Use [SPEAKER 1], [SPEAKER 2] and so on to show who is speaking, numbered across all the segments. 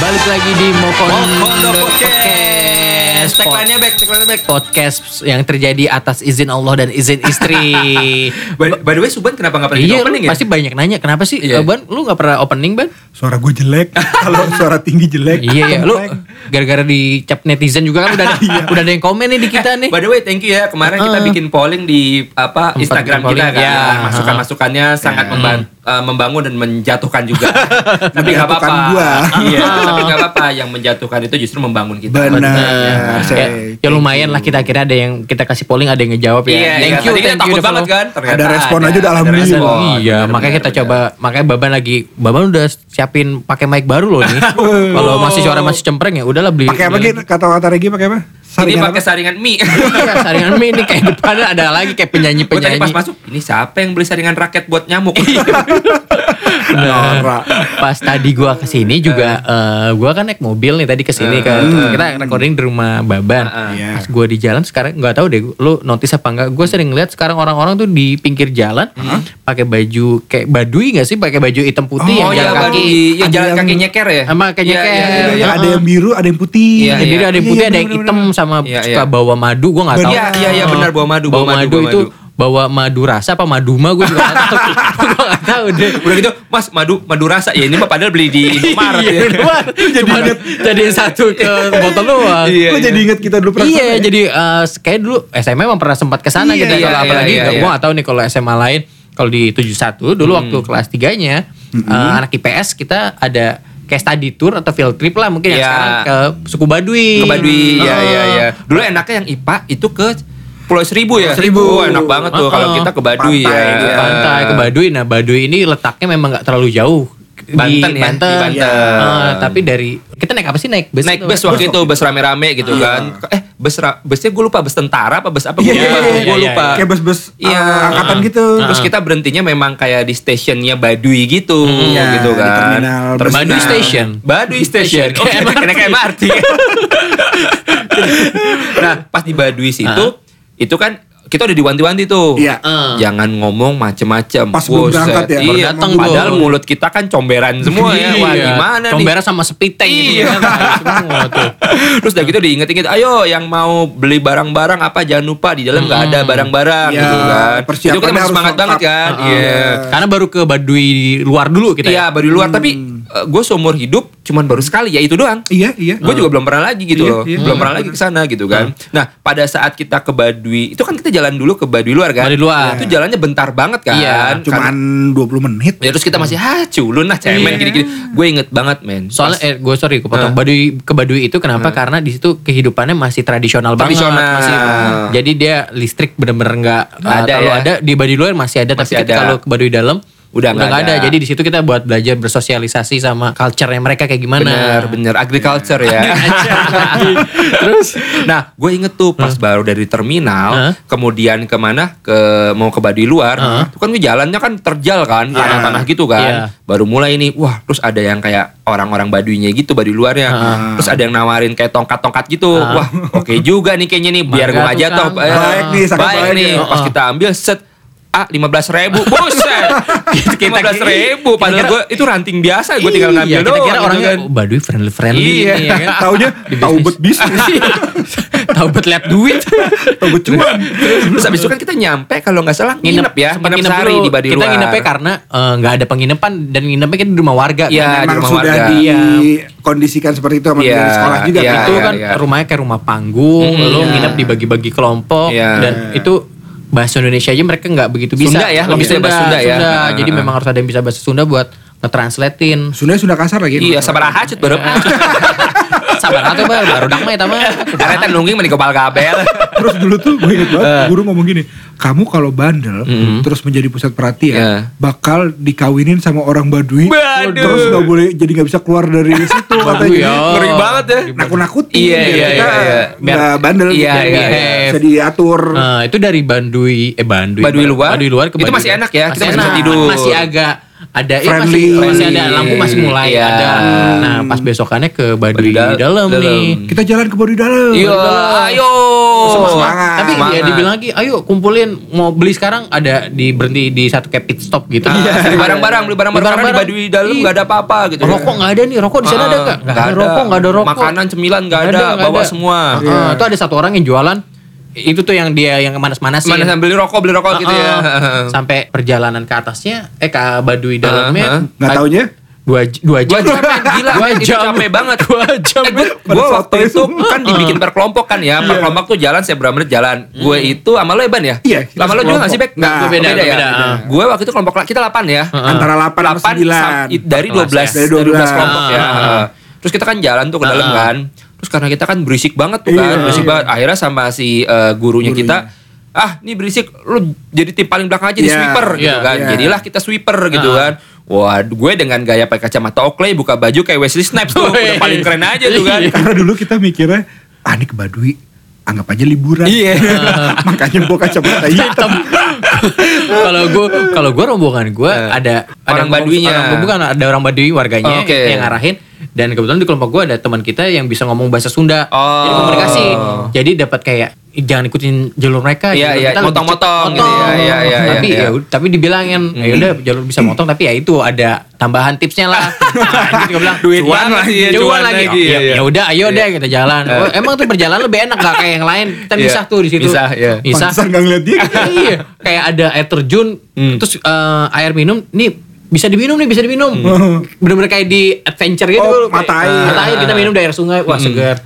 [SPEAKER 1] balik lagi di Mokondo
[SPEAKER 2] Mokondo
[SPEAKER 1] Hmm, Podcast.
[SPEAKER 2] Oh, Podcast. Tagline-nya back, tagline-nya back.
[SPEAKER 1] Podcast yang terjadi atas izin Allah dan izin istri.
[SPEAKER 2] By, by the way, Suban kenapa nggak pernah
[SPEAKER 1] iya,
[SPEAKER 2] jadi opening
[SPEAKER 1] lu
[SPEAKER 2] ya?
[SPEAKER 1] pasti banyak nanya kenapa sih
[SPEAKER 2] Iya.
[SPEAKER 1] eh, Ban? Lu nggak pernah opening Ban?
[SPEAKER 3] Suara gue jelek, kalau suara tinggi jelek.
[SPEAKER 1] iya, iya. Lu
[SPEAKER 3] Komplek.
[SPEAKER 1] gara-gara dicap netizen juga kan udah ada, udah ada yang komen nih di kita nih. Ah.
[SPEAKER 2] By the way, thank you ya. Kemarin kita bikin polling di apa
[SPEAKER 1] Tempat
[SPEAKER 2] Instagram
[SPEAKER 1] polling, Iya. Hmm.
[SPEAKER 2] kita kan.
[SPEAKER 1] ya.
[SPEAKER 2] Masukan-masukannya sangat memban- eh, membangun dan menjatuhkan juga. tapi nggak apa-apa.
[SPEAKER 3] Menjatuhkan gua.
[SPEAKER 2] Iya, tapi nggak apa-apa. Yang menjatuhkan itu justru membangun kita.
[SPEAKER 3] Benar.
[SPEAKER 1] Ya,
[SPEAKER 3] say.
[SPEAKER 1] ya lumayan lah kita akhirnya ada yang kita kasih polling ada yang ngejawab ya.
[SPEAKER 2] Iya,
[SPEAKER 1] thank
[SPEAKER 2] iya.
[SPEAKER 1] you,
[SPEAKER 2] Tadi
[SPEAKER 1] thank
[SPEAKER 2] kita
[SPEAKER 1] you
[SPEAKER 2] takut
[SPEAKER 1] udah
[SPEAKER 2] banget
[SPEAKER 1] follow.
[SPEAKER 2] kan. Ternyata
[SPEAKER 3] Ada respon aja udah
[SPEAKER 2] Ada
[SPEAKER 3] alhamdulillah.
[SPEAKER 2] respon.
[SPEAKER 3] Oh,
[SPEAKER 1] iya,
[SPEAKER 2] Benar,
[SPEAKER 1] makanya
[SPEAKER 2] benar,
[SPEAKER 1] kita
[SPEAKER 2] benar.
[SPEAKER 1] coba, makanya Baban lagi, Baban udah siapin pakai mic baru loh nih. Kalau masih suara masih cempreng ya, udahlah beli.
[SPEAKER 3] Pakai apa
[SPEAKER 1] beli
[SPEAKER 3] Gin?
[SPEAKER 2] gitu?
[SPEAKER 1] lagi.
[SPEAKER 3] Kata-kata Regi pakai apa? kan?
[SPEAKER 2] Ini
[SPEAKER 3] Saringan
[SPEAKER 2] pakai
[SPEAKER 3] apa?
[SPEAKER 2] saringan mie.
[SPEAKER 1] Iya, saringan mie ini kayak depannya ada lagi kayak penyanyi
[SPEAKER 2] Gue tadi
[SPEAKER 1] penyanyi. Iya.
[SPEAKER 2] pas masuk, ini siapa yang beli saringan raket buat nyamuk? Oh,
[SPEAKER 3] Norak.
[SPEAKER 1] Pas tadi gua kesini juga, eh, gua kan naik mobil nih tadi
[SPEAKER 2] Eh.
[SPEAKER 1] kesini ke kan.
[SPEAKER 2] Hmm.
[SPEAKER 1] kita recording di rumah Baban.
[SPEAKER 3] Iya.
[SPEAKER 1] Pas gua di jalan sekarang nggak tahu deh, lu notice apa enggak? Gua sering lihat sekarang orang-orang tuh di pinggir jalan
[SPEAKER 2] Hmm.
[SPEAKER 1] pakai baju kayak badui nggak sih? Pakai baju hitam putih
[SPEAKER 2] Oh
[SPEAKER 1] yang
[SPEAKER 2] iya,
[SPEAKER 1] jalan
[SPEAKER 2] baru
[SPEAKER 1] kaki.
[SPEAKER 2] di- yang
[SPEAKER 3] Ada
[SPEAKER 2] jalan
[SPEAKER 3] yang-
[SPEAKER 2] kaki nyeker ya?
[SPEAKER 1] Sama kayak
[SPEAKER 2] Iya,
[SPEAKER 1] nyeker.
[SPEAKER 2] iya, iya,
[SPEAKER 3] Iya,
[SPEAKER 2] iya.
[SPEAKER 3] iya, ada yang biru, ada yang putih.
[SPEAKER 2] Iya,
[SPEAKER 1] Yang biru ada yang putih, ada yang
[SPEAKER 3] bener,
[SPEAKER 1] hitam
[SPEAKER 3] bener.
[SPEAKER 1] sama
[SPEAKER 2] Iya,
[SPEAKER 1] suka
[SPEAKER 2] iya.
[SPEAKER 1] bawa madu, gue nggak tahu.
[SPEAKER 2] Iya, iya, iya, benar, bawa madu,
[SPEAKER 1] Bawa,
[SPEAKER 2] bawa
[SPEAKER 1] madu,
[SPEAKER 2] madu, bawa
[SPEAKER 1] itu
[SPEAKER 2] madu.
[SPEAKER 1] bawa madu rasa apa maduma gue juga nggak tahu. gue nggak tahu deh.
[SPEAKER 2] Udah gitu, Mas madu madu rasa ya ini mah padahal beli di Indomaret
[SPEAKER 1] Iya,
[SPEAKER 2] ya.
[SPEAKER 1] bener. Cuma jadiin satu ke botol doang.
[SPEAKER 2] Iya,
[SPEAKER 3] Kok
[SPEAKER 2] iya.
[SPEAKER 3] jadi inget kita dulu
[SPEAKER 1] Iya,
[SPEAKER 3] perasaan ya?
[SPEAKER 1] jadi eh, kayak dulu SMA emang pernah sempat ke sana
[SPEAKER 3] Iya,
[SPEAKER 1] gitu.
[SPEAKER 2] iya,
[SPEAKER 1] kalau
[SPEAKER 2] iya,
[SPEAKER 1] apalagi
[SPEAKER 2] iya,
[SPEAKER 1] nggak-
[SPEAKER 2] iya.
[SPEAKER 1] gua nggak tahu nih kalau SMA lain. Kalau di 71 dulu waktu kelas 3-nya
[SPEAKER 2] Hmm.
[SPEAKER 1] eh, anak IPS kita ada kayak study tour atau field trip lah mungkin yang
[SPEAKER 2] Iya.
[SPEAKER 1] sekarang ke suku Baduy.
[SPEAKER 2] Ke Baduy, ya
[SPEAKER 1] Eh,
[SPEAKER 2] ya ya. Dulu enaknya yang IPA itu ke Pulau Seribu ya.
[SPEAKER 3] Pulau Seribu.
[SPEAKER 2] Oh, enak banget tuh
[SPEAKER 1] Uh-uh.
[SPEAKER 2] kalau kita ke Baduy
[SPEAKER 3] Pantai
[SPEAKER 2] ya.
[SPEAKER 3] dia.
[SPEAKER 1] ke pantai ke Baduy. Nah, Baduy ini letaknya memang nggak terlalu jauh
[SPEAKER 2] Banten
[SPEAKER 1] di
[SPEAKER 2] ya,
[SPEAKER 1] Banten.
[SPEAKER 2] di Banten.
[SPEAKER 1] Ah, tapi dari kita naik apa sih naik bus?
[SPEAKER 2] Naik
[SPEAKER 1] atau-
[SPEAKER 2] bus waktu itu bus rame-rame gitu kan. Eh, bus ra- busnya gue lupa bus tentara apa bus apa gue
[SPEAKER 3] Iya,
[SPEAKER 2] lupa.
[SPEAKER 3] iya, iya,
[SPEAKER 2] Gue
[SPEAKER 1] iya,
[SPEAKER 2] lupa.
[SPEAKER 3] Kayak bus-bus
[SPEAKER 2] Iya.
[SPEAKER 3] uh, angkatan gitu.
[SPEAKER 2] Terus kita berhentinya memang kayak di stasiunnya Baduy gitu,
[SPEAKER 3] Iya,
[SPEAKER 2] gitu
[SPEAKER 3] di
[SPEAKER 2] kan.
[SPEAKER 3] terminal
[SPEAKER 2] Terminal.
[SPEAKER 1] Baduy Station.
[SPEAKER 2] Baduy Station.
[SPEAKER 1] Station.
[SPEAKER 2] Oh, Oke,
[SPEAKER 1] Kayak
[SPEAKER 2] Iya, kayak kayak MRT. nah, pas di Baduy situ, itu kan kita udah diwanti-wanti tuh.
[SPEAKER 3] Iya.
[SPEAKER 1] Ah.
[SPEAKER 2] Jangan ngomong macem-macem.
[SPEAKER 3] Pas belum
[SPEAKER 2] Buset,
[SPEAKER 3] berangkat ya, baru
[SPEAKER 2] Iya,
[SPEAKER 1] datang
[SPEAKER 2] padahal
[SPEAKER 1] gua.
[SPEAKER 2] mulut kita kan comberan semua ya. Wah,
[SPEAKER 1] Iya.
[SPEAKER 2] gimana nih?
[SPEAKER 1] Comberan sama sepiteng gitu kan,
[SPEAKER 2] Iya.
[SPEAKER 1] ada semua tuh.
[SPEAKER 2] Terus udah gitu diinget-inget, ayo yang mau beli barang-barang apa jangan lupa di dalam nggak ada barang-barang
[SPEAKER 3] Iya,
[SPEAKER 2] gitu kan. Itu kita
[SPEAKER 3] persiapannya
[SPEAKER 2] masih
[SPEAKER 3] harus
[SPEAKER 2] semangat
[SPEAKER 3] lengkap. Ah,
[SPEAKER 2] banget kan. Iya.
[SPEAKER 1] Karena baru ke Baduy luar dulu
[SPEAKER 3] Gitu
[SPEAKER 1] kita.
[SPEAKER 2] Iya,
[SPEAKER 1] ya.
[SPEAKER 2] baru di luar tapi
[SPEAKER 3] Hmm.
[SPEAKER 2] gue seumur hidup cuman baru sekali ya itu doang.
[SPEAKER 3] Iya, iya.
[SPEAKER 2] Gue juga belum pernah lagi gitu
[SPEAKER 3] Iya,
[SPEAKER 2] loh.
[SPEAKER 3] iya, Ah.
[SPEAKER 2] belum
[SPEAKER 3] benar,
[SPEAKER 2] pernah lagi ke sana gitu kan. Nah, pada saat kita ke Baduy, itu kan kita jalan dulu ke Baduy luar kan.
[SPEAKER 1] Baduy luar.
[SPEAKER 2] Itu jalannya bentar banget kan.
[SPEAKER 1] Iya,
[SPEAKER 2] Karena-
[SPEAKER 3] Nah, Cuman Iya. 20 menit.
[SPEAKER 2] Ya, terus kita masih ha culun lah cemen gini-gini. Gue inget banget, men.
[SPEAKER 1] Soalnya eh, gue sorry
[SPEAKER 2] Nah.
[SPEAKER 1] kepotong. Baduy ke Baduy itu kenapa? Karena di situ kehidupannya masih tradisional,
[SPEAKER 2] Tradisional.
[SPEAKER 1] banget. Masih- jadi dia listrik bener-bener nggak
[SPEAKER 2] Nggak
[SPEAKER 1] ada.
[SPEAKER 2] ada
[SPEAKER 1] Kalau
[SPEAKER 2] ya.
[SPEAKER 1] ada di Baduy luar masih ada,
[SPEAKER 2] Masih
[SPEAKER 1] tapi ketika
[SPEAKER 2] ada.
[SPEAKER 1] lo ke Baduy dalam
[SPEAKER 2] Udah nggak
[SPEAKER 1] nggak ada.
[SPEAKER 2] ada.
[SPEAKER 1] Jadi di situ kita buat belajar bersosialisasi sama culture-nya mereka kayak gimana.
[SPEAKER 2] Bener, bener. Agriculture ya. Terus, nah gue inget tuh pas baru dari terminal,
[SPEAKER 1] Hah?
[SPEAKER 2] kemudian kemana? Ke mau ke Baduy luar. Itu kan gue jalannya kan terjal kan, tanah-tanah gitu
[SPEAKER 1] Iya.
[SPEAKER 2] kan. Baru mulai nih, wah. Terus ada yang kayak orang-orang Baduynya gitu, Baduy luarnya. Terus ada yang nawarin kayak tongkat-tongkat gitu. Wah, oke juga nih kayaknya nih. Biar gue
[SPEAKER 1] Mangga
[SPEAKER 2] aja
[SPEAKER 1] tuh
[SPEAKER 2] toh.
[SPEAKER 1] kan.
[SPEAKER 2] eh,
[SPEAKER 3] Baik nih, ya. sangat baik
[SPEAKER 2] nih.
[SPEAKER 3] nih.
[SPEAKER 2] Pas kita ambil set. Ah, lima belas ribu, buset. Lima
[SPEAKER 1] Kita-
[SPEAKER 2] belas ribu, padahal
[SPEAKER 1] kita-
[SPEAKER 2] gue itu ranting biasa, gue tinggal
[SPEAKER 1] Iya,
[SPEAKER 2] ngambil
[SPEAKER 1] kita
[SPEAKER 2] doang.
[SPEAKER 1] kira
[SPEAKER 2] gitu
[SPEAKER 1] orangnya
[SPEAKER 2] kan.
[SPEAKER 1] oh, Baduy friendly friendly
[SPEAKER 2] Iya.
[SPEAKER 1] ini ya kan.
[SPEAKER 3] Taunya tahu bet bisnis.
[SPEAKER 1] Tahu buat lihat duit.
[SPEAKER 3] Tahu bet cuan.
[SPEAKER 2] Terus abis itu kan kita nyampe kalau nggak salah nginep, ya,
[SPEAKER 1] sempat
[SPEAKER 2] nginep, sehari
[SPEAKER 1] dulu.
[SPEAKER 2] di Baduy
[SPEAKER 1] Kita
[SPEAKER 2] Luar.
[SPEAKER 1] nginepnya karena eh, nggak ada penginapan dan nginepnya kita di rumah warga.
[SPEAKER 2] Iya,
[SPEAKER 1] kan.
[SPEAKER 2] di
[SPEAKER 3] Memang
[SPEAKER 2] rumah
[SPEAKER 3] sudah
[SPEAKER 2] warga.
[SPEAKER 3] dikondisikan seperti itu sama
[SPEAKER 2] Iya,
[SPEAKER 3] dari sekolah juga.
[SPEAKER 2] iya,
[SPEAKER 3] kan?
[SPEAKER 1] itu
[SPEAKER 2] iya.
[SPEAKER 1] kan rumahnya kayak rumah panggung,
[SPEAKER 2] Mm,
[SPEAKER 1] lo
[SPEAKER 2] iya.
[SPEAKER 1] nginep dibagi-bagi kelompok
[SPEAKER 2] Iya.
[SPEAKER 1] dan itu bahasa Indonesia aja mereka nggak begitu bisa.
[SPEAKER 2] Sunda ya,
[SPEAKER 1] lebih
[SPEAKER 2] bisa
[SPEAKER 1] Sunda,
[SPEAKER 2] bahasa Sunda ya. Heeh,
[SPEAKER 1] Jadi
[SPEAKER 2] heeh.
[SPEAKER 1] memang harus ada yang bisa bahasa Sunda buat ngetranslatein.
[SPEAKER 3] Sunda sudah kasar lagi.
[SPEAKER 2] Iya, sabar hacut baru.
[SPEAKER 1] Sabar atuh bar, baru dak mah eta mah.
[SPEAKER 2] Karena nungging meni kepal kabel.
[SPEAKER 3] Terus dulu tuh gue inget
[SPEAKER 2] Eh.
[SPEAKER 3] banget guru ngomong gini, kamu kalau bandel
[SPEAKER 2] Mm-hmm.
[SPEAKER 3] terus menjadi pusat perhatian
[SPEAKER 2] Iya.
[SPEAKER 3] bakal dikawinin sama orang Baduy.
[SPEAKER 2] Waduh.
[SPEAKER 3] Terus nggak boleh jadi nggak bisa keluar dari situ katanya.
[SPEAKER 1] ya.
[SPEAKER 2] Ngeri banget ya.
[SPEAKER 3] Nakut-nakutin.
[SPEAKER 2] Iya, iya,
[SPEAKER 3] biar kita
[SPEAKER 2] iya, iya.
[SPEAKER 1] Biar-
[SPEAKER 3] nggak bandel.
[SPEAKER 2] Iya,
[SPEAKER 3] gitu.
[SPEAKER 2] iya,
[SPEAKER 1] iya.
[SPEAKER 3] Bisa diatur.
[SPEAKER 1] Nah, itu dari Baduy eh Baduy.
[SPEAKER 2] Baduy luar.
[SPEAKER 1] Baduy luar ke
[SPEAKER 2] Itu
[SPEAKER 1] Baduy
[SPEAKER 2] masih
[SPEAKER 1] dalam.
[SPEAKER 2] enak ya, kita
[SPEAKER 1] Masih
[SPEAKER 2] masih bisa
[SPEAKER 1] enak.
[SPEAKER 2] tidur.
[SPEAKER 1] Masih agak ada ya
[SPEAKER 3] Friendly.
[SPEAKER 1] masih, masih ada
[SPEAKER 2] Friendly.
[SPEAKER 1] lampu masih mulai
[SPEAKER 2] Iya.
[SPEAKER 1] ada. Nah, pas besokannya ke Baduy
[SPEAKER 2] Baduy
[SPEAKER 1] dalam,
[SPEAKER 2] dalam.
[SPEAKER 1] nih.
[SPEAKER 3] Kita jalan ke Baduy Dalam.
[SPEAKER 2] Hmm. Iya, ayo.
[SPEAKER 3] Semangat.
[SPEAKER 1] Tapi
[SPEAKER 2] Oh, Semangat.
[SPEAKER 1] ya dibilang lagi, ayo kumpulin mau beli sekarang ada di berhenti di satu kayak pit stop gitu.
[SPEAKER 2] Ah, beli barang-barang, beli barang-barang karena di Baduy dalam
[SPEAKER 1] Iya.
[SPEAKER 2] nggak ada apa-apa gitu.
[SPEAKER 1] Rokok nggak ada nih, rokok di sana ada
[SPEAKER 2] Ah,
[SPEAKER 1] nggak? Nggak ada rokok, nggak ada rokok.
[SPEAKER 2] Makanan cemilan nggak
[SPEAKER 1] Nggak
[SPEAKER 2] ada,
[SPEAKER 1] nggak
[SPEAKER 2] bawa semua. Iya.
[SPEAKER 1] Heeh, Itu ada satu orang yang jualan itu tuh yang dia yang manas-manasin.
[SPEAKER 2] Mana sambil beli rokok, beli rokok gitu ya.
[SPEAKER 1] Heeh. Sampai perjalanan ke atasnya, eh ke Baduy
[SPEAKER 2] Ah,
[SPEAKER 1] dalamnya
[SPEAKER 2] Heeh.
[SPEAKER 3] Nggak taunya?
[SPEAKER 2] Uh-huh.
[SPEAKER 1] dua j- dua
[SPEAKER 2] Gua
[SPEAKER 1] jam.
[SPEAKER 2] capek gila,
[SPEAKER 1] Dua
[SPEAKER 2] itu
[SPEAKER 1] jam.
[SPEAKER 2] capek banget.
[SPEAKER 1] Dua jam.
[SPEAKER 2] Eh, gue
[SPEAKER 3] Pada
[SPEAKER 2] gue
[SPEAKER 3] saat
[SPEAKER 2] waktu itu
[SPEAKER 3] itu.
[SPEAKER 2] kan dibikin berkelompok kan ya,
[SPEAKER 1] Iya.
[SPEAKER 2] berkelompok tuh jalan saya berapa menit jalan. Gue
[SPEAKER 1] Hmm.
[SPEAKER 2] itu sama lo Eban ya?
[SPEAKER 3] Iya, kita
[SPEAKER 2] Sama lo juga nggak sih, Bek?
[SPEAKER 3] sekelompok. Nggak,
[SPEAKER 2] Beda,
[SPEAKER 1] Nah, beda,
[SPEAKER 2] ya?
[SPEAKER 1] beda.
[SPEAKER 2] Gue waktu itu kelompok kita 8 ya.
[SPEAKER 3] Antara 8 sama
[SPEAKER 2] 8
[SPEAKER 3] 9.
[SPEAKER 2] dari 12
[SPEAKER 3] Dari
[SPEAKER 2] dari 12,
[SPEAKER 3] 12
[SPEAKER 2] kelompok ya.
[SPEAKER 1] ya. Ah.
[SPEAKER 2] Heeh. Terus kita kan jalan tuh ke dalam
[SPEAKER 1] Ah.
[SPEAKER 2] kan. Terus karena kita kan berisik banget tuh
[SPEAKER 3] Iya.
[SPEAKER 2] kan, berisik banget. Akhirnya sama si eh, gurunya,
[SPEAKER 3] Gurunya.
[SPEAKER 2] kita Ah, ini berisik, lu jadi tim paling belakang aja di
[SPEAKER 3] Iya.
[SPEAKER 2] sweeper gitu
[SPEAKER 1] Iya.
[SPEAKER 2] kan.
[SPEAKER 3] Iya.
[SPEAKER 2] Jadilah kita sweeper gitu
[SPEAKER 1] Ah.
[SPEAKER 2] kan. Wah, gue dengan gaya pakai kacamata Oakley buka baju kayak Wesley Snipes tuh, udah paling keren aja tuh
[SPEAKER 1] Oh,
[SPEAKER 2] kan.
[SPEAKER 1] Iya.
[SPEAKER 3] Karena dulu kita mikirnya, ah ini ke Baduy, anggap aja liburan.
[SPEAKER 2] Iya.
[SPEAKER 3] Makanya gua kacamata hitam.
[SPEAKER 1] kalau gue kalau gue rombongan gue
[SPEAKER 2] Eh,
[SPEAKER 1] ada ada
[SPEAKER 2] orang Baduinya.
[SPEAKER 1] orang- bukan ada orang Badui warganya
[SPEAKER 2] Oh, oke.
[SPEAKER 1] yang ngarahin dan kebetulan di kelompok gue ada teman kita yang bisa ngomong bahasa Sunda
[SPEAKER 2] Oh.
[SPEAKER 1] jadi komunikasi jadi dapat kayak "Ih, jangan ikutin jalur mereka
[SPEAKER 2] Iya,
[SPEAKER 1] jalur
[SPEAKER 2] iya,
[SPEAKER 1] kita lebih
[SPEAKER 2] motong-motong
[SPEAKER 1] cepat."
[SPEAKER 2] gitu ya,
[SPEAKER 1] Motong.
[SPEAKER 2] iya, iya, iya,
[SPEAKER 1] tapi
[SPEAKER 2] iya. Mm-hmm.
[SPEAKER 1] ya ud- tapi dibilangin ya udah jalur bisa motong tapi ya itu ada tambahan tipsnya lah nah, gitu gua bilang
[SPEAKER 2] Duit
[SPEAKER 1] cuan
[SPEAKER 2] lagi,
[SPEAKER 1] lagi
[SPEAKER 2] iya,
[SPEAKER 1] cuan
[SPEAKER 2] cuan
[SPEAKER 1] lagi
[SPEAKER 2] lagi,
[SPEAKER 1] Oh, ya-
[SPEAKER 2] iya, iya.
[SPEAKER 1] ya udah ayo
[SPEAKER 2] Iya.
[SPEAKER 1] deh kita jalan Oh, emang tuh perjalanan lebih enak gak kayak yang lain kita
[SPEAKER 2] Iya.
[SPEAKER 1] misah tuh di situ
[SPEAKER 2] Misah, iya.
[SPEAKER 1] misah
[SPEAKER 3] Pantesan nggak ngeliat dia.
[SPEAKER 1] iya kayak ada air terjun
[SPEAKER 2] Hmm.
[SPEAKER 1] terus eh, air minum nih bisa diminum nih bisa diminum bener-bener kayak di adventure gitu
[SPEAKER 3] Oh,
[SPEAKER 1] Kayak-
[SPEAKER 3] mata air.
[SPEAKER 1] Hmm. mata air Hmm. kita minum dari air sungai wah segar